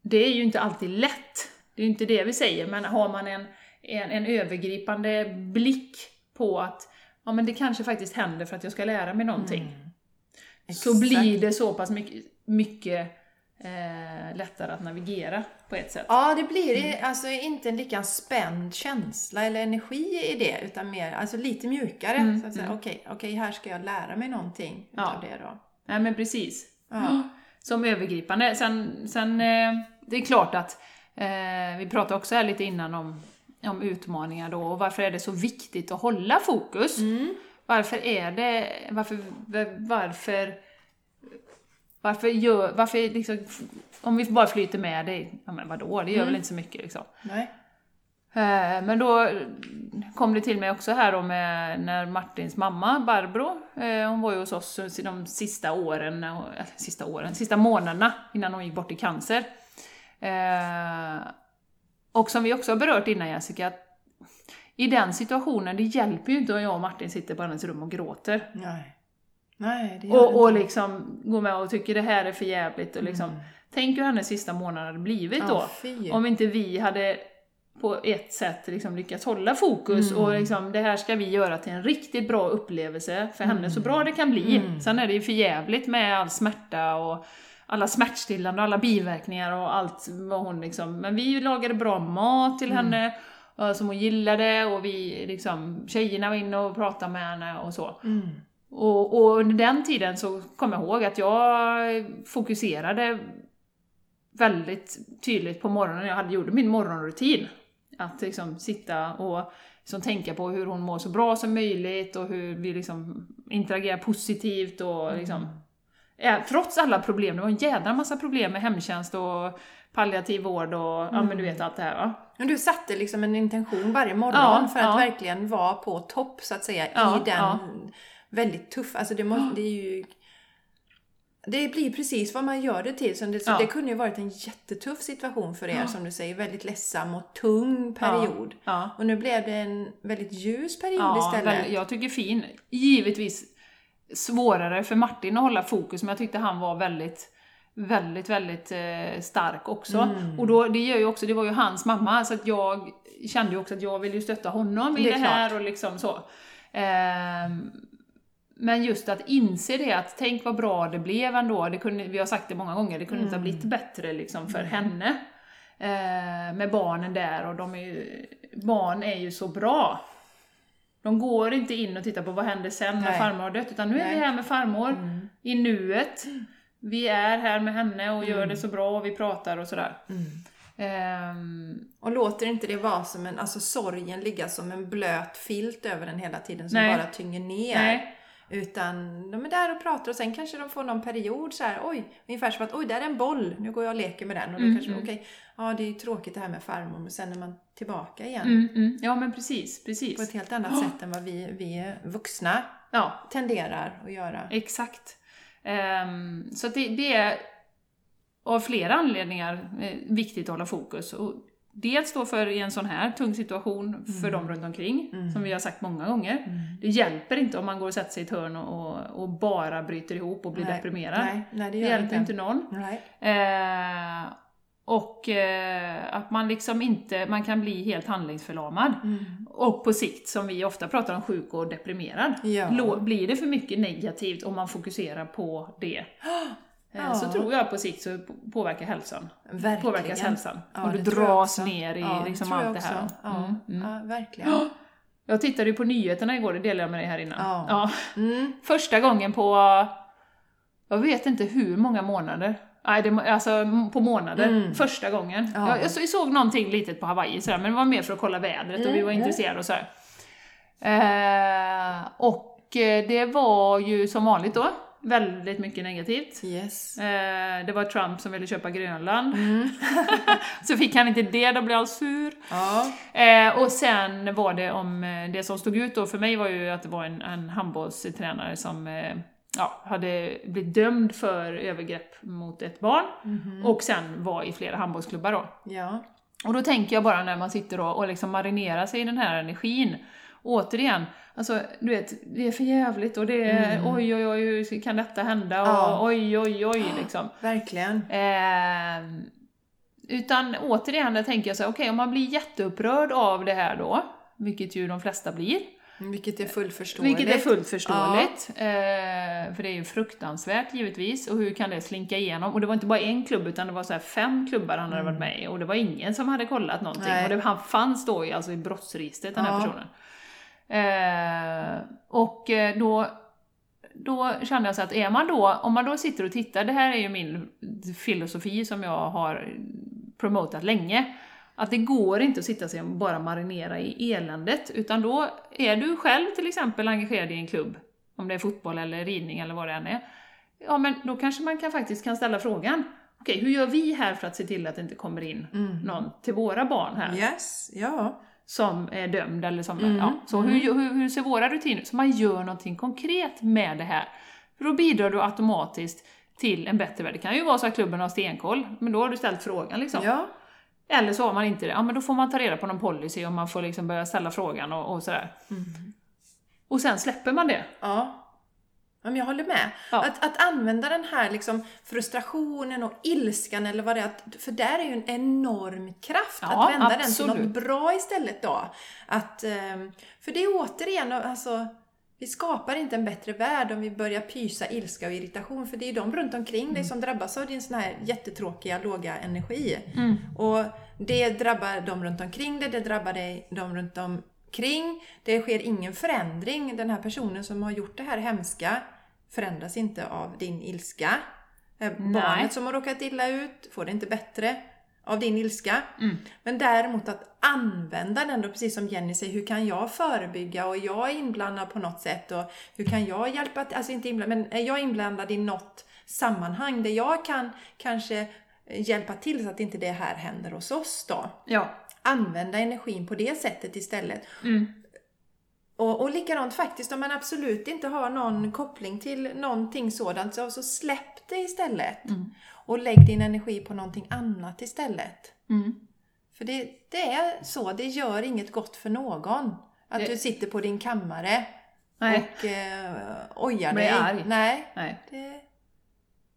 S2: det är ju inte alltid lätt, det är ju inte det vi säger, men har man en, en, en övergripande blick på att ja, men det kanske faktiskt händer för att jag ska lära mig någonting, så
S1: Mm. Exakt.
S2: blir det så pass mycket, mycket eh, lättare att navigera på ett sätt.
S1: Ja, det blir mm. alltså inte en lika spänd känsla eller energi i det, utan mer, alltså lite mjukare.
S2: Mm,
S1: Så att säga, okej, okej, här ska jag lära mig någonting
S2: Ja.
S1: utav det då.
S2: Nej men precis. Mm.
S1: Ja.
S2: Som övergripande. Sen, sen eh, det är klart att eh, vi pratade också här lite innan om, om utmaningar då och varför är det så viktigt att hålla fokus? Varför är det, varför, varför varför gör, varför liksom, om vi bara flyter med dig, ja men vadå, det gör väl inte så mycket liksom.
S1: Nej.
S2: Eh, Men då kom det till mig också här om när Martins mamma Barbro, eh, hon var ju hos oss de sista åren, när hon- eller sista åren, sista månaderna innan hon gick bort i cancer. Eh, Och som vi också har berört innan Jessica, att i den situationen, det hjälper ju inte om jag och Martin sitter på hennes rum och gråter.
S1: Nej. Nej, det gör det
S2: Och, och
S1: inte. Mm.
S2: liksom går med och tycker det här är för jävligt och liksom, tänk hur hennes sista månader hade blivit då.
S1: Ja, fy.
S2: Om inte vi hade på ett sätt liksom lyckats hålla fokus och liksom, det här ska vi göra till en riktigt bra upplevelse för henne, så bra det kan bli. Sen är det ju för jävligt med all smärta och alla smärtstillande och alla biverkningar och allt vad hon liksom... Men vi lagade bra mat till henne eh, som hon gillade och vi liksom, tjejerna var inne och pratade med henne och så.
S1: Mm.
S2: Och, och under den tiden så kom jag ihåg att jag fokuserade väldigt tydligt på morgonen. Jag hade, gjorde min morgonrutin. Att liksom sitta och liksom tänka på hur hon mår så bra som möjligt och hur vi liksom interagerar positivt och liksom... Ja, trots alla problem, det var en jädra massa problem med hemtjänst och palliativ vård och ja men du vet allt det här va.
S1: Men du satte liksom en intention varje morgon
S2: Ja,
S1: för att
S2: ja.
S1: verkligen vara på topp så att säga
S2: Ja,
S1: i den
S2: ja.
S1: väldigt tuffa, alltså det, må, det är ju det blir precis vad man gör det till. Så det, så
S2: Ja.
S1: det kunde ju varit en jättetuff situation för er som du säger, väldigt ledsam och tung period.
S2: Ja.
S1: Och nu blev det en väldigt ljus period
S2: Ja,
S1: istället.
S2: väl, jag tycker fin. Givetvis svårare för Martin att hålla fokus, men jag tyckte han var väldigt väldigt, väldigt eh, stark också.
S1: Mm.
S2: Och då, det, gör ju också, det var ju hans mamma, så att jag kände ju också att jag ville ju stötta honom i
S1: Det
S2: det,
S1: är
S2: här och liksom så. Ehm, men just att inse det, att tänk vad bra det blev ändå. Det kunde, vi har sagt det många gånger, det kunde inte ha
S1: Mm.
S2: blivit bättre liksom för henne. Eh, med barnen där och de är ju, barn är ju så bra. De går inte in och tittar på vad händer sen när
S1: Nej.
S2: farmor har dött, utan nu är
S1: Nej.
S2: vi här med farmor
S1: Mm.
S2: i nuet. Vi är här med henne och
S1: Mm.
S2: gör det så bra och vi pratar och sådär. Ehm,
S1: Och låter inte det vara som en, alltså sorgen ligga som en blöt filt över den hela tiden som
S2: Nej.
S1: bara tynger ner.
S2: nej.
S1: Utan de är där och pratar och sen kanske de får någon period så här, oj, ungefär som att oj, där är en boll, nu går jag och leker med den. Och då
S2: Mm,
S1: kanske,
S2: mm.
S1: okej, ja det är ju tråkigt det här med farmor, men sen är man tillbaka igen.
S2: Mm, mm. Ja, men precis,
S1: På ett
S2: precis.
S1: helt annat sätt än vad vi, vi vuxna
S2: Ja,
S1: tenderar att göra.
S2: Exakt. Ehm, så att det, det är av flera anledningar eh, viktigt att hålla fokus. Och dels då för i en sån här tung situation för
S1: Mm.
S2: dem runt omkring,
S1: Mm.
S2: som vi har sagt många gånger. Det hjälper inte om man går och sätter sig i ett hörn och, och, och bara bryter ihop och blir
S1: Nej.
S2: deprimerad.
S1: Nej, nej, det
S2: det
S1: gör
S2: hjälper inte någon.
S1: Nej.
S2: Ehm, och eh, att man liksom inte, man kan bli helt handlingsförlamad.
S1: Mm.
S2: Och på sikt, som vi ofta pratar om, sjuk och deprimerad.
S1: Ja.
S2: Lå- Blir det för mycket negativt om man fokuserar på det, eh,
S1: Ja.
S2: så tror jag på sikt så påverkar hälsan.
S1: Verkligen.
S2: Påverkas hälsan.
S1: Ja,
S2: och du
S1: det tror jag
S2: dras
S1: också.
S2: ner i
S1: Ja,
S2: liksom
S1: tror jag
S2: allt det här.
S1: också. Ja,
S2: Mm, mm.
S1: ja verkligen.
S2: Jag tittade ju på nyheterna igår, det delade jag med dig här innan.
S1: Ja. Mm.
S2: Första gången på, jag vet inte hur många månader. Nej, det, må- alltså m- på månader.
S1: Mm.
S2: Första gången.
S1: Ja.
S2: Jag, jag så- såg någonting litet på Hawaii sådär, men det var mer för att kolla vädret och vi
S1: Mm,
S2: var
S1: mm.
S2: intresserade och sådär. Eh, och eh, det var ju som vanligt då, väldigt mycket negativt.
S1: Yes.
S2: Eh, det var Trump som ville köpa Grönland,
S1: Mm.
S2: så fick han inte det, då blev han sur.
S1: Ja.
S2: Eh, och sen var det om, eh, det som stod ut då för mig var ju att det var en, en handbollstränare som eh, ja, hade blivit dömd för övergrepp mot ett barn
S1: Mhm.
S2: och sen var i flera handbollsklubbar då.
S1: Ja.
S2: Och då tänker jag bara när man sitter och, och liksom marinerar sig i den här energin, återigen, alltså du vet, det är för jävligt och det är
S1: Mm.
S2: oj oj oj, hur kan detta hända? Och,
S1: Ja.
S2: Oj oj oj liksom.
S1: Verkligen.
S2: Eh, utan återigen, där tänker jag så här, okej om man blir jätteupprörd av det här då, vilket ju de flesta blir,
S1: Vilket är fullt förståeligt.
S2: vilket är fullt förståeligt, eh, för det är ju fruktansvärt givetvis, och hur kan det slinka igenom? Och det var inte bara en klubb, utan det var så här fem klubbar han hade
S1: Mm.
S2: varit med i, och det var ingen som hade kollat någonting,
S1: Nej.
S2: och det, han fanns då i, alltså i brottsregistret, den här
S1: Ja.
S2: personen. Eh, och eh, då, då kände jag så att är man då, om man då sitter och tittar, det här är ju min filosofi som jag har promotat länge, att det går inte att sitta sig och bara marinera i eländet, utan då är du själv till exempel engagerad i en klubb, om det är fotboll eller ridning eller vad det än är, ja men då kanske man kan, faktiskt kan ställa frågan, okej hur gör vi här för att se till att det inte kommer in
S1: Mm.
S2: någon till våra barn här?
S1: Yes. Ja.
S2: som är dömd eller som,
S1: Mm,
S2: ja, så
S1: mm.
S2: hur, hur, hur ser våra rutiner ut? Så man gör någonting konkret med det här. För då bidrar du automatiskt till en bättre värld. Det kan ju vara så att klubben har stenkoll, men då har du ställt frågan liksom.
S1: Ja.
S2: Eller så har man inte det, ja men då får man ta reda på någon policy och man får liksom börja ställa frågan och, och sådär.
S1: Mm.
S2: Och sen släpper man det.
S1: Ja. Ja, Men jag håller med.
S2: Ja.
S1: Att, att använda den här liksom frustrationen och ilskan eller vad det är, att- för där är ju en enorm kraft.
S2: Ja,
S1: att vända den till
S2: absolut.
S1: något bra istället då. Att, ehm, för det är återigen, alltså, vi skapar inte en bättre värld om vi börjar pysa ilska och irritation. För det är ju de runt omkring
S2: Mm.
S1: dig som drabbas av din sån här jättetråkiga, låga energi. Och det drabbar de runt omkring dig, det drabbar dig de runt omkring. Det sker ingen förändring. Den här personen som har gjort det här hemska förändras inte av din ilska. Eh,
S2: Nej.
S1: Barnet som har råkat illa ut får det inte bättre av din ilska.
S2: Mm.
S1: Men däremot att använda den då, precis som Jenny säger, hur kan jag förebygga och jag är inblandad på något sätt och hur kan jag hjälpa till? Alltså inte inblandad, men är jag inblandad i något sammanhang där jag kan kanske eh, hjälpa till så att inte det här händer hos oss då.
S2: Ja.
S1: Använda energin på det sättet istället.
S2: Mm.
S1: Och, och likadant faktiskt om man absolut inte har någon koppling till någonting sådant så, så släpp det istället.
S2: Mm.
S1: Och lägg din energi på någonting annat istället.
S2: Mm.
S1: För det, det är så, det gör inget gott för någon. Att
S2: Det-
S1: du sitter på din kammare
S2: Nej.
S1: och eh, ojar
S2: Blir
S1: dig.
S2: arg.
S1: Nej.
S2: Nej.
S1: Det,
S2: Det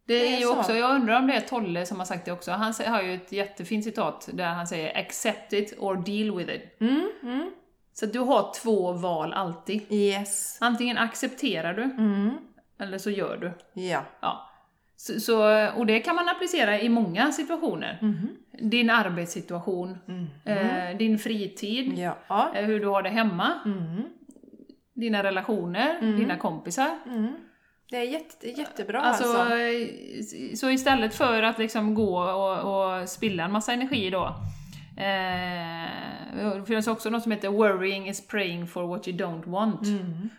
S1: Det
S2: är
S1: är
S2: ju
S1: så.
S2: också, jag undrar om det är Tolle som har sagt det också. Han sä- har ju ett jättefint citat där han säger “accept it or deal with it”.
S1: mm, mm.
S2: Så att du har två val alltid.
S1: Yes.
S2: Antingen accepterar du,
S1: Mm.
S2: eller så gör du.
S1: Ja.
S2: Ja. Så, så, och det kan man applicera i många situationer.
S1: Mhm.
S2: Din arbetssituation,
S1: Mm.
S2: Mm-hmm. eh, din fritid,
S1: Ja. Ja.
S2: eh, hur du har det hemma,
S1: Mm.
S2: dina relationer,
S1: Mm.
S2: dina kompisar.
S1: Mm. Det är jätte, jättebra alltså.
S2: Alltså, eh, Så istället för att liksom gå och, och spilla en massa energi då, Eh, det finns också något som heter “Worrying is praying for what you don't want”.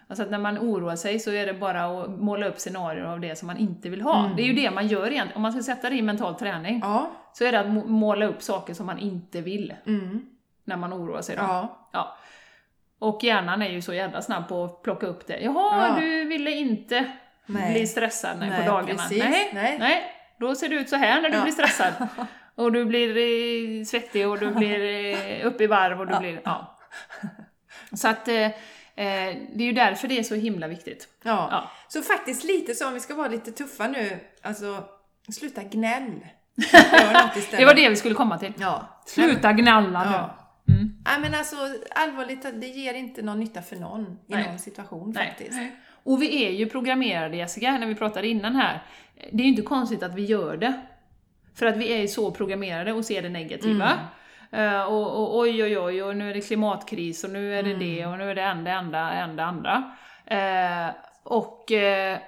S2: Alltså att när man oroar sig så är det bara att måla upp scenarier av det som man inte vill ha.
S1: Mm.
S2: Det är ju det man gör egentligen. Om man ska sätta det i mental träning
S1: Ja.
S2: så är det att må- måla upp saker som man inte vill
S1: Mm.
S2: när man oroar sig. Då.
S1: Ja.
S2: Ja. Och hjärnan är ju så jävla snabb på att plocka upp det. Jaha,
S1: Ja.
S2: du ville inte
S1: Nej.
S2: bli stressad nej,
S1: Nej,
S2: på dagarna.
S1: precis.
S2: Nej,
S1: Nej.
S2: nej. då ser det ut så här när du
S1: Ja.
S2: blir stressad. Och du blir eh, svettig och du blir eh, uppe i varv och du
S1: Ja.
S2: blir... Ja. Så att eh, eh, det är ju därför det är så himla viktigt.
S1: Ja.
S2: Ja.
S1: Så faktiskt lite så, om vi ska vara lite tuffa nu, alltså sluta gnäll. Gör något istället.
S2: Det var det vi skulle komma till.
S1: Ja.
S2: Sluta gnälla nu.
S1: Ja.
S2: Mm.
S1: Nej men alltså allvarligt, det ger inte någon nytta för någon i
S2: Nej.
S1: någon situation
S2: Nej.
S1: faktiskt.
S2: Och vi är ju programmerade Jessica, när vi pratade innan här. Det är ju inte konstigt att vi gör det. För att vi är ju så programmerade och ser det negativa. Eh, och, och oj, oj, oj, och nu är det klimatkris och nu är det det och nu är det enda, enda, enda, andra. Eh, och eh,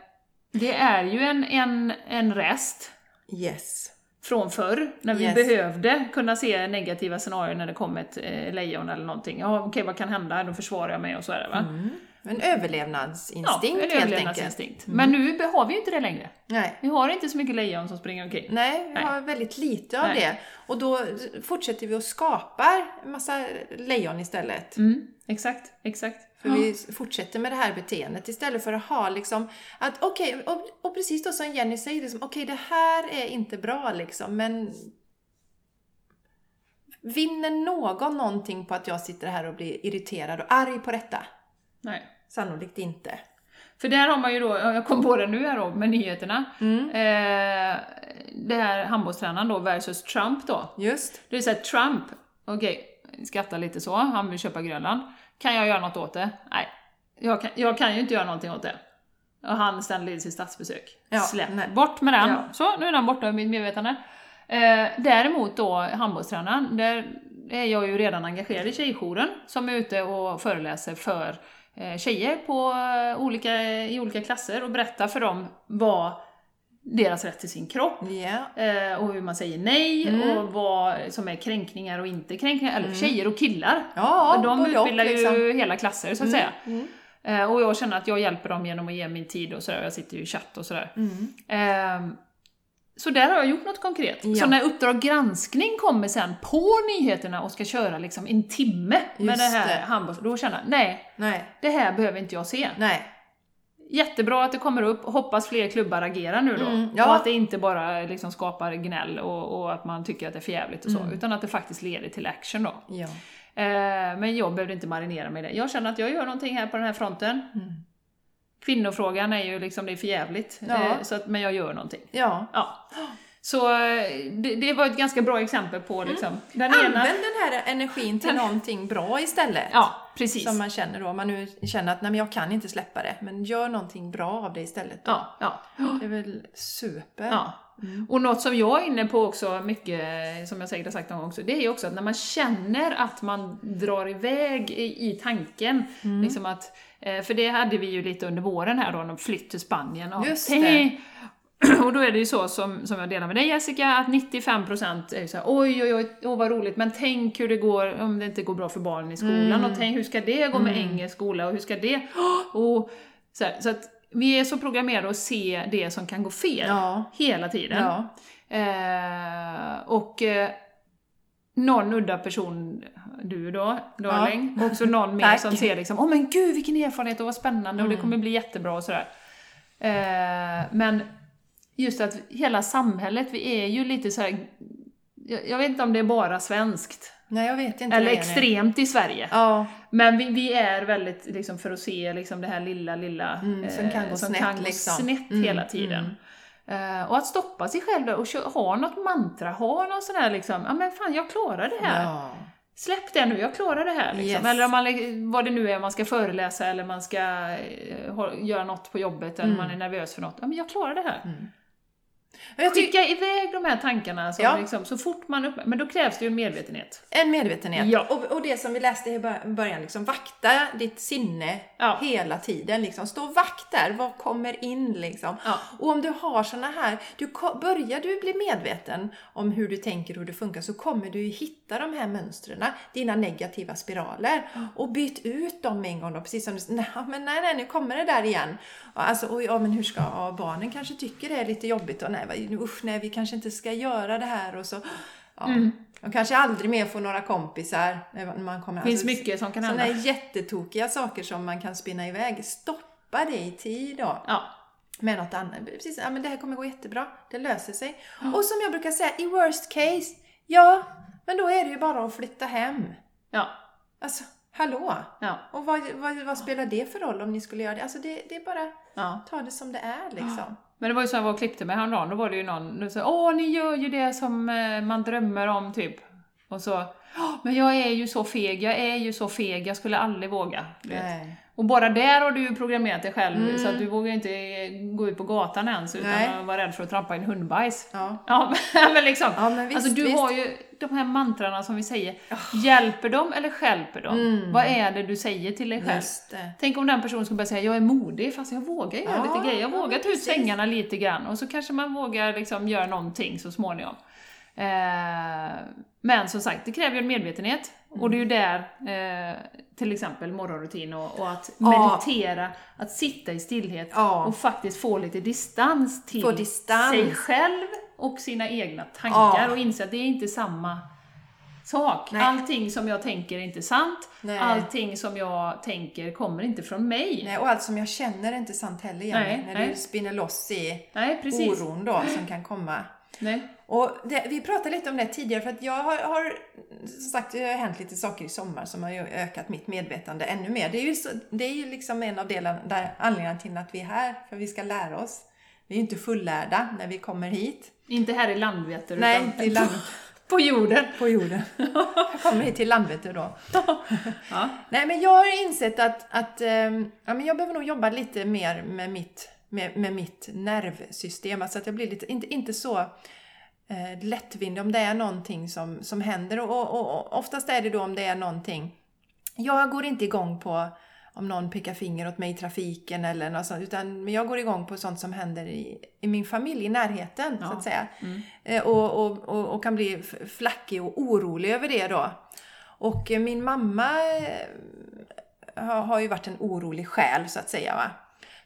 S2: det är ju en, en, en rest
S1: Yes.
S2: från förr, när vi
S1: Yes.
S2: behövde kunna se negativa scenarier när det kom ett eh, lejon eller någonting. Ja, okej, vad kan hända? Då försvarar jag mig och så är det va.
S1: En överlevnadsinstinkt Mm.
S2: en
S1: helt enkelt. Mm.
S2: överlevnadsinstinkt. Men nu har vi ju inte det längre.
S1: Nej.
S2: Vi har inte så mycket lejon som springer omkring.
S1: Nej, vi
S2: Nej.
S1: har väldigt lite av
S2: Nej.
S1: det. Och då fortsätter vi och skapar en massa lejon istället.
S2: Mm, exakt, exakt.
S1: För vi fortsätter med det här beteendet istället för att ha liksom att okej, och, och precis då som Jenny säger, liksom, okej det här är inte bra liksom, men vinner någon någonting på att jag sitter här och blir irriterad och arg på detta?
S2: Nej.
S1: Sannolikt inte.
S2: För där har man ju då, jag kom på det nu här då, med nyheterna.
S1: Mm.
S2: Eh, det här handbollstränaren då versus Trump då.
S1: Just.
S2: Det är såhär, Trump, okej, skrattar lite så, han vill köpa Grönland. Kan jag göra något åt det? Nej, jag kan, jag kan ju inte göra någonting åt det. Och han ställde in sitt statsbesök.
S1: Ja,
S2: Släpp,
S1: nej.
S2: bort med den.
S1: Ja.
S2: Så, nu är den borta ur mitt medvetande. Eh, däremot då handbollstränaren, där är jag ju redan engagerad i tjejjouren som är ute och föreläser för eh, tjejer på eh, olika, i olika klasser och berättar för dem vad deras rätt till sin kropp
S1: Ja.
S2: Eh, och hur man säger nej
S1: Mm.
S2: och vad som är kränkningar och inte kränkningar. Eller tjejer och killar.
S1: Ja,
S2: de
S1: både och,
S2: utbildar ju
S1: liksom.
S2: hela klasser så att säga.
S1: Mm.
S2: Eh, och jag känner att jag hjälper dem genom att ge min tid och sådär. Jag sitter ju i chatt och sådär.
S1: Mm.
S2: Ehm, så där har jag gjort något konkret.
S1: Ja.
S2: Så när Uppdrag granskning kommer sen på nyheterna och ska köra liksom en timme med
S1: Just
S2: det här
S1: det.
S2: handbolls... Då känner jag, nej,
S1: Nej,
S2: det här behöver inte jag se.
S1: nej.
S2: Jättebra att det kommer upp, hoppas fler klubbar agerar nu då.
S1: Mm, ja.
S2: Och att det inte bara liksom skapar gnäll och, och att man tycker att det är för jävligt och så,
S1: Mm.
S2: utan att det faktiskt leder till action då.
S1: Ja.
S2: Eh, men jag behövde inte marinera mig i det. Jag känner att jag gör någonting här på den här fronten.
S1: Mm.
S2: Kvinnofrågan är ju liksom, det är för jävligt.
S1: Ja.
S2: Eh, så att, men jag gör någonting.
S1: ja.
S2: Ja. Så eh, det, det var ett ganska bra exempel på liksom, den ena...
S1: Använd den här energin till någonting bra istället.
S2: Ja, precis.
S1: Som man känner då, om man nu känner att nej men jag kan inte släppa det, men gör någonting bra av det istället. då.
S2: Ja, ja.
S1: Det är väl super. Mm.
S2: Ja. Och något som jag är inne på också mycket, som jag säkert har sagt någon gång också, det är ju också att när man känner att man drar iväg i, i tanken,
S1: Mm.
S2: liksom att, eh, för det hade vi ju lite under våren här då, när flytt till Spanien. Och,
S1: Just
S2: "Hej!" Och då är det ju så som, som jag delar med dig Jessica, att 95% är ju såhär oj oj oj, åh vad roligt, men tänk hur det går om det inte går bra för barnen i skolan,
S1: Mm.
S2: och tänk hur ska det gå med engelsk skola, och hur ska det... Och, så, här, så att vi är så programmerade att se det som kan gå fel
S1: Ja.
S2: hela tiden.
S1: Ja.
S2: Eh, och eh, någon udda person, du då, darling, och så någon mer
S1: Tack. Mm.
S2: som ser liksom åh men gud vilken erfarenhet och vad spännande och det kommer bli jättebra och sådär. Eh, men just att hela samhället, vi är ju lite så här. Jag, jag vet inte om det är bara svenskt,
S1: Nej, jag vet inte.
S2: eller
S1: det, Jenny.
S2: extremt i Sverige.
S1: Ja,
S2: Men vi, vi är väldigt liksom, för att se liksom, det här lilla, lilla eh,
S1: Mm, som kan gå
S2: som
S1: snett,
S2: kan gå
S1: liksom.
S2: snett
S1: Mm,
S2: hela tiden. Eh, och att stoppa sig själv då och kö- ha något mantra, ha någon sån här liksom, ja men fan jag klarar det här.
S1: ja.
S2: Släpp det nu, jag klarar det här. Liksom.
S1: Yes.
S2: Eller om man, lä- vad det nu är, man ska föreläsa eller man ska eh, ha, göra något på jobbet eller man är nervös för något. Ja men jag klarar det här.
S1: Mm. Och Jag tycker
S2: Skicka iväg de här tankarna som
S1: Ja.
S2: liksom, så fort man upp, Men då krävs det ju en medvetenhet.
S1: en medvetenhet.
S2: Ja.
S1: Och, och det som vi läste i bör- början, liksom, vakta ditt sinne
S2: Ja.
S1: hela tiden. Liksom. Stå vakt där, vad kommer in liksom?
S2: Ja.
S1: Och om du har såna här, du, ko- börjar du bli medveten om hur du tänker och hur du funkar så kommer du ju hitta de här mönstren, dina negativa spiraler. Och byt ut dem en gång då, precis som du s- nej, men nej, nej, nu kommer det där igen. Ja, Alltså, oj, ja, men hur ska, ja, barnen kanske tycker det är lite jobbigt och nej, vad- usch, nej, vi kanske inte ska göra det här och så. Ja.
S2: Mm.
S1: De kanske aldrig mer får några kompisar. När man kommer.
S2: Det finns
S1: Alltså,
S2: mycket som kan hända.
S1: Sådana jättetokiga saker som man kan spinna iväg. Stoppa det i tid då
S2: Ja.
S1: med något annat. Precis, ja, men det här kommer gå jättebra. Det löser sig. Och som jag brukar säga, i worst case, ja, men då är det ju bara att flytta hem.
S2: Ja.
S1: Alltså, hallå!
S2: Ja.
S1: Och vad, vad, vad spelar det för roll om ni skulle göra det? Alltså det, det är bara,
S2: ja.
S1: ta det som det är liksom.
S2: Men det var ju så jag var och klippte mig häromdagen, då var det ju någon som sa Åh, ni gör ju det som eh, man drömmer om, typ. Och så "Åh, Men jag är ju så feg, jag är ju så feg, jag skulle aldrig våga. Du vet.
S1: Nej.
S2: Och bara där har du ju programmerat dig själv,
S1: Mm.
S2: så att du vågar ju inte eh, gå ut på gatan ens utan
S1: Nej.
S2: att vara rädd för att trampa i en hundbajs.
S1: Ja.
S2: Ja, men- men liksom.
S1: ja, men visst,
S2: alltså du
S1: visst.
S2: har ju de här mantrarna som vi säger, hjälper dem eller stjälper dem?
S1: Mm.
S2: Vad är det du säger till dig själv?
S1: Just det.
S2: Tänk om den personen skulle börja säga jag är modig fast jag vågar göra
S1: Ja,
S2: lite grejer, jag
S1: ja,
S2: vågar
S1: men
S2: ta ut
S1: precis.
S2: svängarna lite grann och så kanske man vågar liksom göra någonting så småningom. Eh, men som sagt, det kräver ju en medvetenhet
S1: Mm.
S2: och det är ju där eh, till exempel morgonrutin och, och att
S1: Ja.
S2: meditera, att sitta i stillhet
S1: Ja.
S2: och faktiskt få lite distans till
S1: Få distans.
S2: sig själv och sina egna tankar
S1: Ja.
S2: och inse att det är inte samma sak.
S1: Nej.
S2: Allting som jag tänker är inte sant.
S1: Nej.
S2: Allting som jag tänker kommer inte från mig. Nej,
S1: Nej, och allt som jag känner är inte sant heller
S2: Nej,
S1: Jenny, när
S2: nej.
S1: du spinner loss i
S2: precis.
S1: oron då som kan komma.
S2: Nej.
S1: Och det, vi pratade lite om det tidigare för att jag har, har som sagt, det har hänt lite saker i sommar som har ju ökat mitt medvetande ännu mer. Det är ju, så, det är ju liksom en av delarna, där, anledningarna till att vi är här, för vi ska lära oss. Vi är ju inte fullärda när vi kommer hit.
S2: Inte här i Landvetter,
S1: Nej,
S2: utan
S1: till land,
S2: på jorden.
S1: på jorden. Jag kommer hit till Landvetter då.
S2: Ja.
S1: Nej, men jag har insett att, att ehm, ja, men jag behöver nog jobba lite mer med mitt, med, med mitt nervsystem. Alltså att jag blir lite, inte, inte så eh, lättvindig om det är någonting som, som händer. Och, och, och oftast är det då om det är någonting jag går inte igång på om någon pekar finger åt mig i trafiken eller något sånt, utan men jag går igång på sånt som händer i, i min familj, i närheten så
S2: Ja.
S1: att säga.
S2: Mm.
S1: Eh, Och, och, och, och kan bli f- flackig och orolig över det då. Och eh, min mamma eh, har, har ju varit en orolig själ så att säga. Va?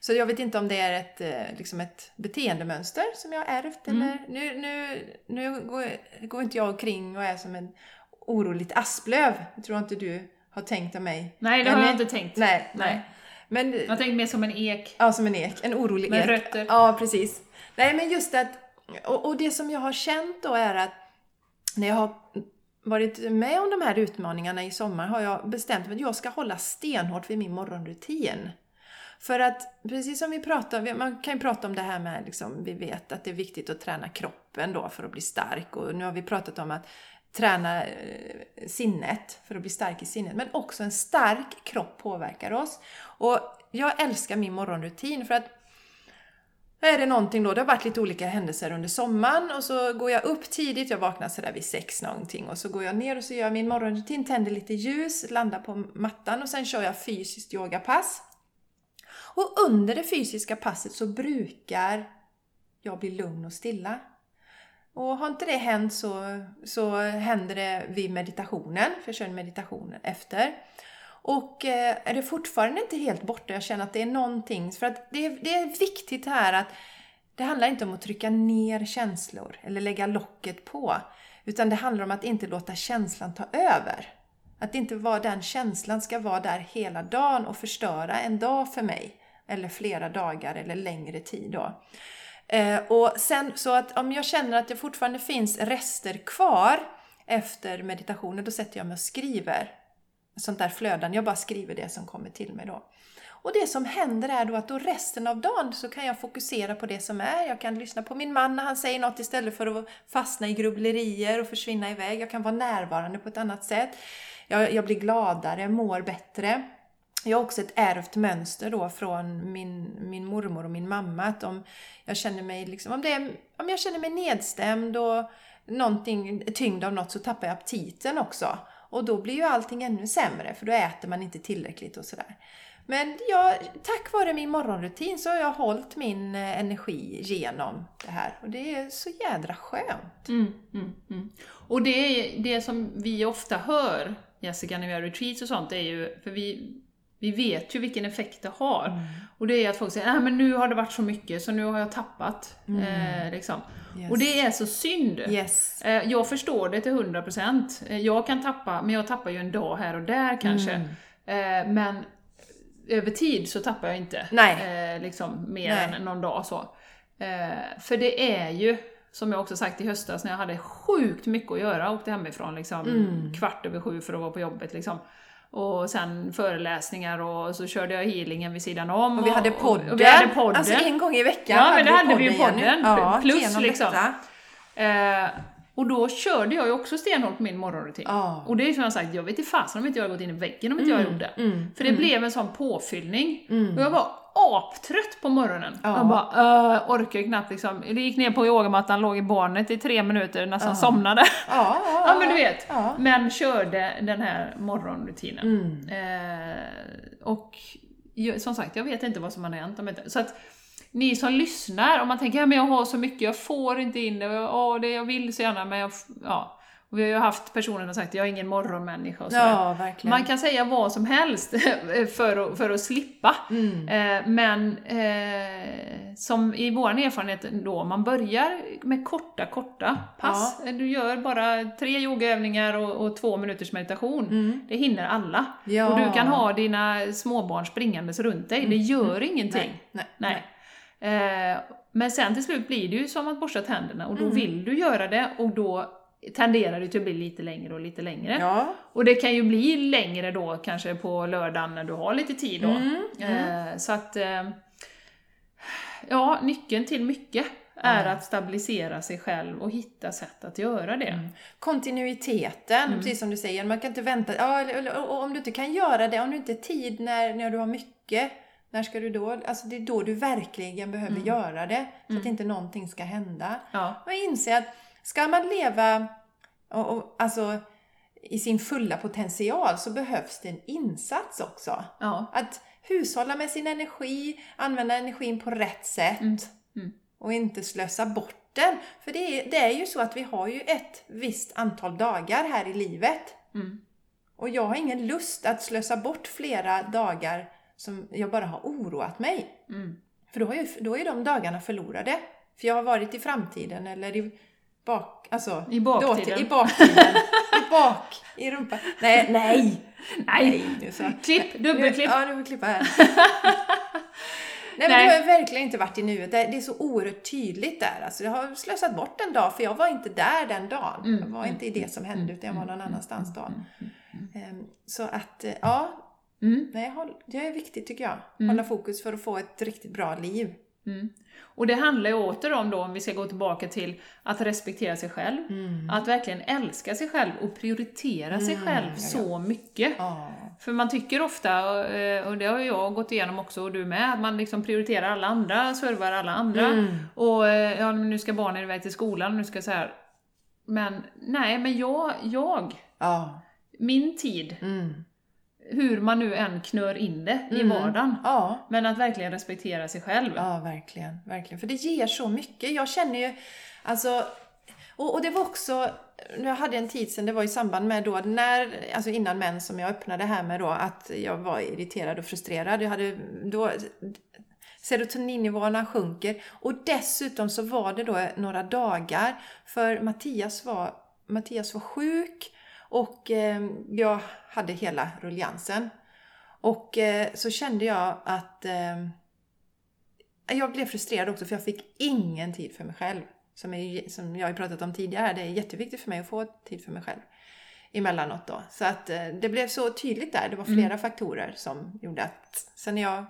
S1: Så jag vet inte om det är ett, eh, liksom ett beteendemönster som jag har ärvt.
S2: Mm.
S1: Eller, nu nu, nu går, går inte jag omkring och är som en oroligt asplöv. Det tror jag inte du har tänkt om mig.
S2: Nej, det
S1: Men-
S2: har jag inte tänkt.
S1: Nej,
S2: Nej.
S1: nej. Men,
S2: Jag har tänkt mer som en ek.
S1: ja, som en ek. En orolig
S2: Med
S1: ek.
S2: rötter.
S1: Ja, precis. Nej, men just att... Och, och det som jag har känt då är att när jag har varit med om de här utmaningarna i sommar har jag bestämt mig att jag ska hålla stenhårt vid min morgonrutin. För att precis som vi pratar man kan ju prata om det här med liksom, vi vet att det är viktigt att träna kroppen då för att bli stark och nu har vi pratat om att träna eh, sinnet för att bli stark i sinnet. Men också en stark kropp påverkar oss. Och jag älskar min morgonrutin för att är det någonting då, det har varit lite olika händelser under sommaren och så går jag upp tidigt, jag vaknar sådär vid sex någonting och så går jag ner och så gör jag min morgonrutin, tänder lite ljus, landar på mattan och sen kör jag fysiskt yogapass. Och under det fysiska passet så brukar jag bli lugn och stilla. Och har inte det hänt så, så händer det vid meditationen, för jag kör en meditation efter. Och eh, är det fortfarande inte helt borta, jag känner att det är någonting, för att det, är- det är viktigt här att det handlar inte om att trycka ner känslor eller lägga locket på, utan det handlar om att inte låta känslan ta över. Att inte vara den känslan ska vara där hela dagen och förstöra en dag för mig. Eller flera dagar eller längre tid då. Eh, och sen så att om jag känner att det fortfarande finns rester kvar efter meditationen, då sätter jag mig och skriver. Sånt där flödan, jag bara skriver det som kommer till mig då. Och det som händer är då att då resten av dagen så kan jag fokusera på det som är. Jag kan lyssna på min man när han säger något istället för att fastna i grubblerier och försvinna iväg. Jag kan vara närvarande på ett annat sätt. Jag, jag blir gladare, mår bättre. jag har också ett ärvt mönster då från min, min mormor och min mamma. Att om jag känner mig, liksom, om det är, om jag känner mig nedstämd och någonting, tyngd av något så tappar jag aptiten också. Och då blir ju allting ännu sämre för då äter man inte tillräckligt och sådär. Men jag, tack vare min morgonrutin så har jag hållit min eh, energi genom det här. Och det är så jädra skönt.
S2: Mm, mm, mm. Och det, är det som vi ofta hör, Jessica, när vi har retreats och sånt, det är ju, för vi, vi vet ju vilken effekt det har.
S1: Mm.
S2: Och det är att folk säger nej men nu har det varit så mycket så nu har jag tappat. Eh, liksom.
S1: Mm. Yes.
S2: Och det är så synd.
S1: Yes.
S2: Eh, Jag förstår det till 100%. Eh, Jag kan tappa, men jag tappar ju en dag här och där kanske.
S1: Mm.
S2: Eh, Men över tid så tappar jag inte
S1: Nej.
S2: eh, liksom, mer
S1: Nej.
S2: än någon dag. Så. Eh, För det är ju, som jag också sagt i höstas när jag hade sjukt mycket att göra, åkte hemifrån liksom,
S1: Mm.
S2: kvart över sju för att vara på jobbet. Liksom. Och sen föreläsningar och så körde jag healingen vid sidan om.
S1: Och vi hade podden.
S2: Och, och vi hade podden.
S1: Alltså en gång i veckan
S2: Ja, men det hade vi ju
S1: Jenny.
S2: podden. Plus,
S1: genom
S2: liksom.
S1: detta.
S2: Eh, och då körde jag ju också stenhårt på min morgonrutin.
S1: Ja.
S2: Och det är som jag sagt, jag vet inte fasen om inte jag hade gått in i väggen om inte jag gjorde det.
S1: mm,
S2: För det blev en sån påfyllning. Och jag var aptrött på morgonen.
S1: Ja.
S2: Jag bara, uh, orkar ju knappt liksom. Jag gick ner på yogamattan, låg i barnet i tre minuter, nästan somnade.
S1: Ja, ja,
S2: ja men du vet.
S1: Ja.
S2: Men körde den här morgonrutinen.
S1: Mm.
S2: Eh, och ju- som sagt, jag vet inte vad som har hänt. om inte- Så att ni som lyssnar, om man tänker att jag har så mycket, jag får inte in det, och jag, åh, det jag vill så gärna, men jag... f- Ja. Och vi har ju haft personer som har sagt jag är ingen morgonmänniska och så där.
S1: Ja, verkligen.
S2: Man kan säga vad som helst för att, för att slippa.
S1: Mm.
S2: Eh, Men eh, som i vår erfarenhet då, man börjar med korta, korta pass. Du gör bara tre yogaövningar och, och två minuters meditation.
S1: Mm.
S2: Det hinner alla.
S1: Ja.
S2: Och du kan ha dina småbarn springandes runt dig. Det gör ingenting.
S1: Nej, Mm. nej,
S2: Nej. Eh, men sen till slut blir det ju som att borsta tänderna och då
S1: Mm.
S2: vill du göra det och då tenderar det till att bli lite längre och lite längre.
S1: Ja,
S2: Och det kan ju bli längre då kanske på lördagen när du har lite tid då.
S1: Mm,
S2: Eh, så att... Eh, ja, nyckeln till mycket är att stabilisera sig själv och hitta sätt att göra det.
S1: eh, Mm. kontinuiteten, precis som du säger. Man kan inte vänta. Ja, eller- eller- och om du inte kan göra det, om du inte har tid när, när du har mycket, när ska du då? Alltså det är då du verkligen behöver göra det, så att inte någonting ska hända.
S2: Ja.
S1: Och inse att ska man leva och, och, alltså, i sin fulla potential så behövs det en insats också.
S2: ja.
S1: Att hushålla med sin energi, använda energin på rätt sätt
S2: Mm. Mm.
S1: och inte slösa bort den. För det är, det är ju så att vi har ju ett visst antal dagar här i livet.
S2: Mm.
S1: Och jag har ingen lust att slösa bort flera dagar som jag bara har oroat mig.
S2: Mm.
S1: För då är, ju, då är de dagarna förlorade. För jag har varit i framtiden eller i bak... Alltså,
S2: I baktiden.
S1: Då, I baktiden. I bak... I rumpan. Nej, nej!
S2: Nej!
S1: Nu så.
S2: Klipp, dubbelklipp.
S1: Ja, du får klippa här. Nej, men
S2: Nej.
S1: du har ju verkligen inte varit i nuet. Det det är så oerhört tydligt där. Alltså, jag har slösat bort en dag, för jag var inte där den dagen.
S2: Mm,
S1: Jag var inte i det som hände, utan jag var någon annanstans dagen. Ehm, Så att, eh, ja.
S2: Mm.
S1: Nej, håll- det är viktigt tycker jag.
S2: Mm.
S1: Hålla fokus för att få ett riktigt bra liv.
S2: Mm. Och det handlar ju åter om då, om vi ska gå tillbaka till att respektera sig själv. Att verkligen älska sig själv och prioritera sig
S1: Mm,
S2: själv
S1: ja, ja.
S2: så mycket.
S1: Ja.
S2: För man tycker ofta, eh, och det har ju jag gått igenom också och du med, att man liksom prioriterar alla andra, servar alla andra.
S1: Mm.
S2: Och eh, ja, men nu ska barnen iväg till skolan, nu ska så här. Men nej, men jag, jag,
S1: Ja.
S2: min tid,
S1: Mm.
S2: hur man nu än knör in det i
S1: Mm.
S2: vardagen.
S1: Ja.
S2: Men att verkligen respektera sig själv.
S1: Ja, verkligen. verkligen. För det ger så mycket. Jag känner ju, alltså, och, och det var också, jag hade en tid sedan, det var i samband med då, när, alltså innan män som jag öppnade här med då, att jag var irriterad och frustrerad. Jag hade då, serotoninnivåerna sjunker. Och dessutom så var det då några dagar, för Mattias var, Mattias var sjuk och eh, jag hade hela rulliansen. Och eh, så kände jag att eh, jag blev frustrerad också för jag fick ingen tid för mig själv. Som, är, som jag har pratat om tidigare, det är jätteviktigt för mig att få tid för mig själv emellanåt då. Så att eh, det blev så tydligt där, det var flera faktorer som gjorde att sen när jag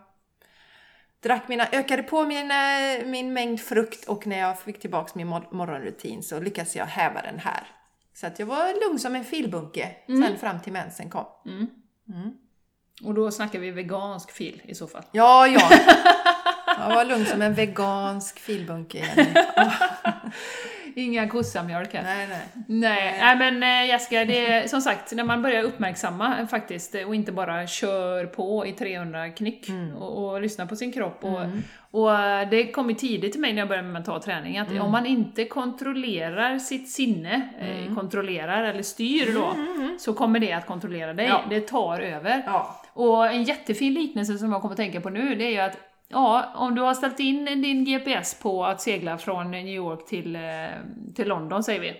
S1: drack mina, ökade på min, eh, min mängd frukt och när jag fick tillbaks min mor- morgonrutin så lyckades jag häva den här. Så att jag var lugn som en filbunke sen fram till mensen kom.
S2: Mm.
S1: Mm.
S2: Och då snackar vi vegansk fil i så fall.
S1: Ja, ja. Jag var lugn som en vegansk filbunke igen.
S2: Inga kossamjölk här.
S1: Nej, nej.
S2: Nej, nej men eh, Jessica, det är som sagt, när man börjar uppmärksamma eh, faktiskt eh, och inte bara kör på i 300 knyck och, och lyssnar på sin kropp. Och,
S1: Mm.
S2: och eh, det kom ju tidigt till mig när jag började med mental träning, att om man inte kontrollerar sitt sinne, eh, kontrollerar eller styr då,
S1: Mm,
S2: så kommer det att kontrollera dig.
S1: Ja.
S2: Det tar över.
S1: Ja.
S2: Och en jättefin liknelse som jag kommer att tänka på nu, det är ju att Ja, om du har ställt in din GPS på att segla från New York till, eh, till London, säger vi.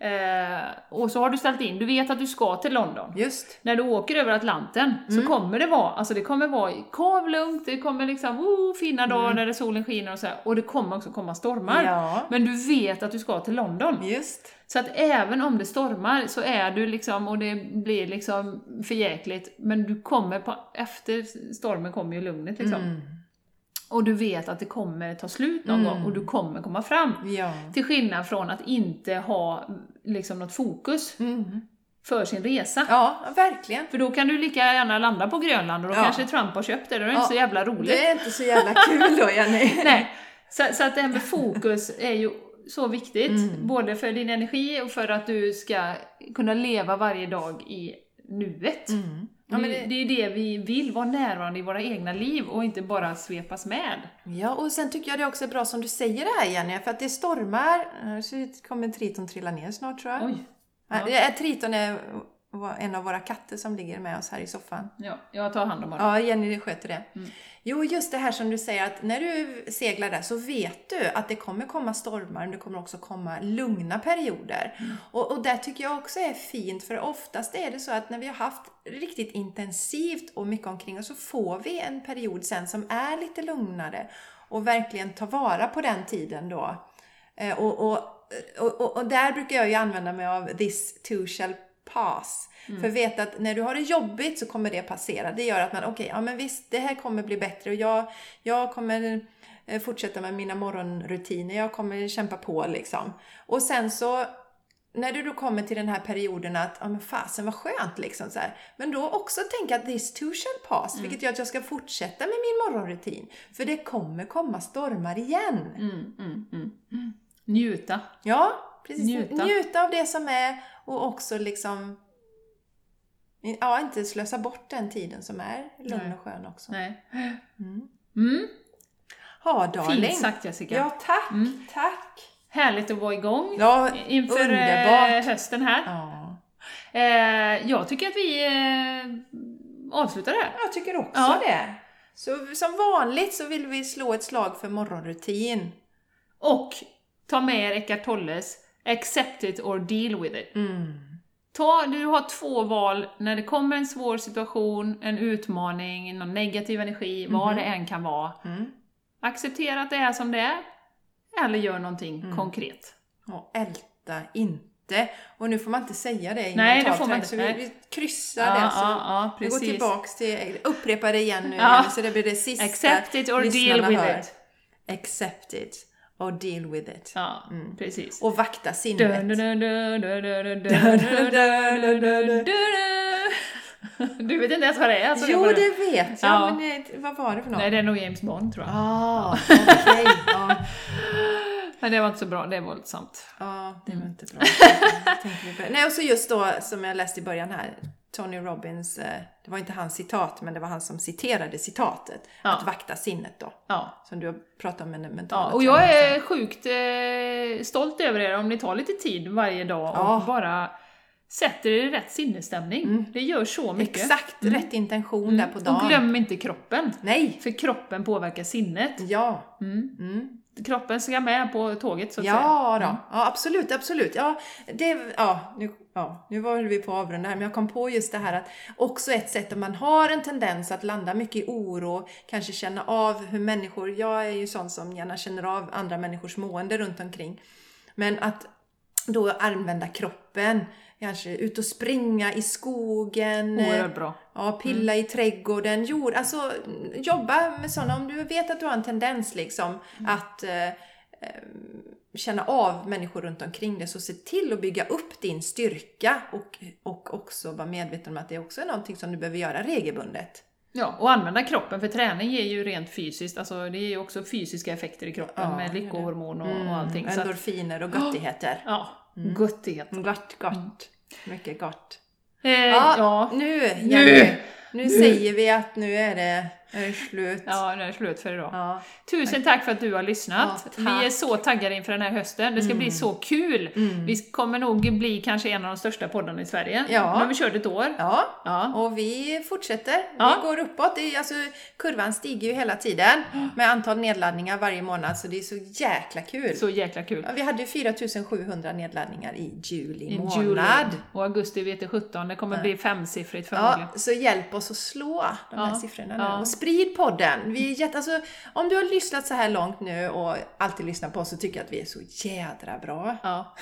S2: Eh, och så har du ställt in, du vet att du ska till London.
S1: Just.
S2: När du åker över Atlanten så kommer det vara, alltså det kommer vara kavlugnt, det kommer liksom oh, fina dagar när det solen skiner och så här, Och det kommer också komma stormar.
S1: Ja.
S2: Men du vet att du ska till London.
S1: Just.
S2: Så att även om det stormar så är du liksom, och det blir liksom förjäkligt, men du kommer på, efter stormen kommer ju lugnet liksom.
S1: Mm.
S2: Och du vet att det kommer ta slut någon gång
S1: Mm.
S2: och du kommer komma fram.
S1: Ja.
S2: Till skillnad från att inte ha liksom något fokus
S1: Mm.
S2: för sin resa.
S1: Ja, verkligen.
S2: För då kan du lika gärna landa på Grönland och då
S1: Ja.
S2: kanske Trump har köpt det, då är det
S1: Ja.
S2: inte så jävla roligt.
S1: Det är inte så jävla kul då, Jenny.
S2: Nej. Så, så att det här med fokus är ju så viktigt,
S1: Mm.
S2: både för din energi och för att du ska kunna leva varje dag i nuet.
S1: Mm. Ja, men
S2: det... Det,
S1: det,
S2: är ju det vi vill, vara närvarande i våra egna liv och inte bara svepas med.
S1: ja, och sen tycker jag det är också bra som du säger det här Jenny, för att det stormar. Nu så kommer Triton trilla ner snart tror jag.
S2: Oj!
S1: Ja.
S2: Ja.
S1: det är- Triton är en av våra katter som ligger med oss här i soffan.
S2: Ja, jag tar hand om honom.
S1: Ja, Jenny sköter det.
S2: Mm.
S1: Jo, just det här som du säger att när du seglar där så vet du att det kommer komma stormar, men det kommer också komma lugna perioder. Och, och det tycker jag också är fint, för oftast är det så att när vi har haft riktigt intensivt och mycket omkring oss så får vi en period sen som är lite lugnare och verkligen ta vara på den tiden då. Eh, Och, och, och, och, och där brukar jag ju använda mig av this too shall pass. För vet att när du har det jobbigt så kommer det passera. Det gör att man, okej, ja men visst, det här kommer bli bättre och jag, jag kommer eh, fortsätta med mina morgonrutiner, jag kommer kämpa på liksom. Och sen så när du då kommer till den här perioden att, ja men fasen vad skönt liksom så här. Men då också tänka att this too shall pass, vilket gör att jag ska fortsätta med min morgonrutin. För det kommer komma stormar igen.
S2: Mm, mm, mm. Njuta.
S1: Ja, precis. Njuta.
S2: Njuta.
S1: av det som är och också liksom Ja, inte slösa bort den tiden som är lugn
S2: Nej.
S1: och skön också.
S2: Nej.
S1: Mm.
S2: Mm.
S1: Ha, darling.
S2: Fint sagt Jessica.
S1: Ja, tack,
S2: Mm.
S1: tack.
S2: Härligt att vara igång
S1: Ja,
S2: inför eh,
S1: underbart.
S2: hösten här.
S1: ja.
S2: Eh, jag tycker att vi eh, avslutar där.
S1: Jag tycker också
S2: Ja.
S1: det. Så som vanligt så vill vi slå ett slag för morgonrutin.
S2: Och ta med er Eckart Tolles Accept it or deal with it.
S1: Mm.
S2: Ta, du har två val när det kommer en svår situation, en utmaning, någon negativ energi, vad
S1: Mhm.
S2: det än kan vara.
S1: Mm.
S2: Acceptera att det är som det är, eller gör någonting
S1: Mm.
S2: konkret.
S1: Och älta inte. Och nu får man inte säga det i
S2: Nej, det
S1: mental
S2: får
S1: träning,
S2: man inte.
S1: Så vi,
S2: Nej.
S1: vi kryssar
S2: ja,
S1: det. Så
S2: ja, ja,
S1: Vi går
S2: precis.
S1: tillbaks till, upprepa det igen nu
S2: Ja.
S1: Jenny, så det blir det sista.
S2: Accept it or
S1: lyssnarna
S2: deal with
S1: hör.
S2: it.
S1: Accept it or deal with it.
S2: Ja,
S1: Mm.
S2: precis.
S1: Och vakta sinnet.
S2: Du vet inte ens vad det är? Alltså,
S1: Jo,
S2: bara-
S1: det vet jag,
S2: Ja.
S1: men nej, vad var det för något?
S2: Nej, det är nog James Bond tror jag.
S1: Ah, okej. Ja,
S2: Men det var inte så bra, det är våldsamt.
S1: ja, det
S2: Mm.
S1: var inte bra. Tänker vi på det. Nej, och så just då, som jag läste i början här, Tony Robbins, eh, det var inte hans citat, men det var han som citerade citatet.
S2: Ja.
S1: Att vakta sinnet då,
S2: Ja.
S1: som du har pratat om med den mentala
S2: ja. Och jag
S1: tränaren.
S2: är sjukt eh, stolt över er om ni tar lite tid varje dag och
S1: Ja. Mm.
S2: bara sätter er i rätt sinnesstämning. Det gör så mycket. Mm.
S1: Exakt rätt intention där på dagen.
S2: Och glöm inte kroppen.
S1: Nej!
S2: För kroppen påverkar sinnet.
S1: Ja.
S2: Mm.
S1: Mm.
S2: Kroppen ska med på tåget så att säga.
S1: Ja, då. ja, absolut, absolut. Ja, det, ja, nu, ja, nu var vi på avrunda här, men jag kom på just det här att också ett sätt om man har en tendens att landa mycket i oro, kanske känna av hur människor, jag är ju sån som gärna känner av andra människors mående runt omkring, men att då använda kroppen, kanske ut och springa i skogen. eh,
S2: Oerhört bra.
S1: Ja, pilla
S2: Mm.
S1: i trädgården, jord, alltså mm,
S2: Mm.
S1: jobba med sådana. Om du vet att du har en tendens liksom att eh, eh, känna av människor runt omkring dig. Så se till att bygga upp din styrka och, och också vara medveten om att det också är någonting som du behöver göra regelbundet.
S2: Ja, och använda kroppen, för träning ger ju rent fysiskt, alltså det ger ju också fysiska effekter i kroppen
S1: Ja,
S2: med
S1: det Mm, gör
S2: lyckohormon och, och allting. Så att,
S1: Endorfiner och göttigheter.
S2: ja,
S1: Mm.
S2: guttighet.
S1: Gott, gott. Mycket gott.
S2: Eh,
S1: Ja,
S2: ja.
S1: nu
S2: Nu.
S1: Jenny! Nu säger vi att nu är det, är det slut.
S2: ja, det är slut för idag.
S1: Ja.
S2: Tusen tack för att du har lyssnat.
S1: Ja, tack. Mm.
S2: vi är så taggade inför den här hösten. Det ska bli så kul. Vi kommer nog bli kanske en av de största poddarna i Sverige.
S1: Ja.
S2: Nu har vi kört ett år.
S1: ja.
S2: Ja.
S1: Och vi fortsätter.
S2: Ja.
S1: Vi går uppåt. Det är, alltså, kurvan stiger ju hela tiden med antal nedladdningar varje månad så det är så jäkla kul.
S2: Så jäkla kul.
S1: Ja, Vi hade ju 4700 nedladdningar i juli
S2: I
S1: månad.
S2: juli. Och augusti vet jag 17, det kommer bli femsiffrigt
S1: Ja,
S2: förmodligen.
S1: så hjälp oss att slå de här
S2: Ja.
S1: siffrorna
S2: Ja.
S1: nu. Och sprid podden! Vi är jätte, alltså, om du har lyssnat så här långt nu och alltid lyssnar på oss så tycker jag att vi är så jädra bra.
S2: Ja.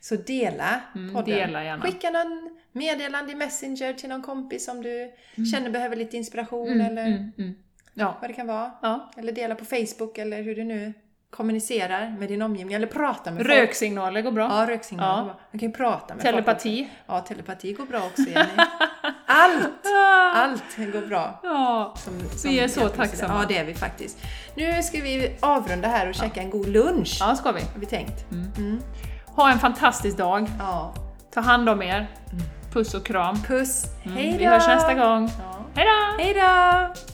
S1: Så dela
S2: Mm,
S1: podden.
S2: dela gärna.
S1: Skicka någon meddelande i Messenger till någon kompis om du känner behöver lite inspiration
S2: Mm,
S1: eller
S2: mm, mm. Ja.
S1: vad det kan vara.
S2: ja.
S1: Eller dela på Facebook eller hur du nu kommunicerar med din omgivning eller prata med folk.
S2: Röksignaler går bra.
S1: Ja, röksignaler.
S2: Ja.
S1: går bra. Man kan ju prata med folk.
S2: Telepati.
S1: också. Ja, telepati går bra också Jenny. Allt!
S2: Ah.
S1: Allt går bra.
S2: Ja.
S1: Som,
S2: Vi är så
S1: hjälper oss
S2: tacksamma.
S1: idag. Ja, det är vi faktiskt. Nu ska vi avrunda här och käka en god lunch.
S2: ja, Mm. ska vi.
S1: Har vi tänkt. Mm.
S2: Ha en fantastisk dag.
S1: Ja.
S2: Ta hand om
S1: Mm.
S2: er. Puss och kram.
S1: Puss! Hej då!
S2: Vi hörs Mm, nästa gång.
S1: Ja.
S2: Hej då!
S1: Hej då!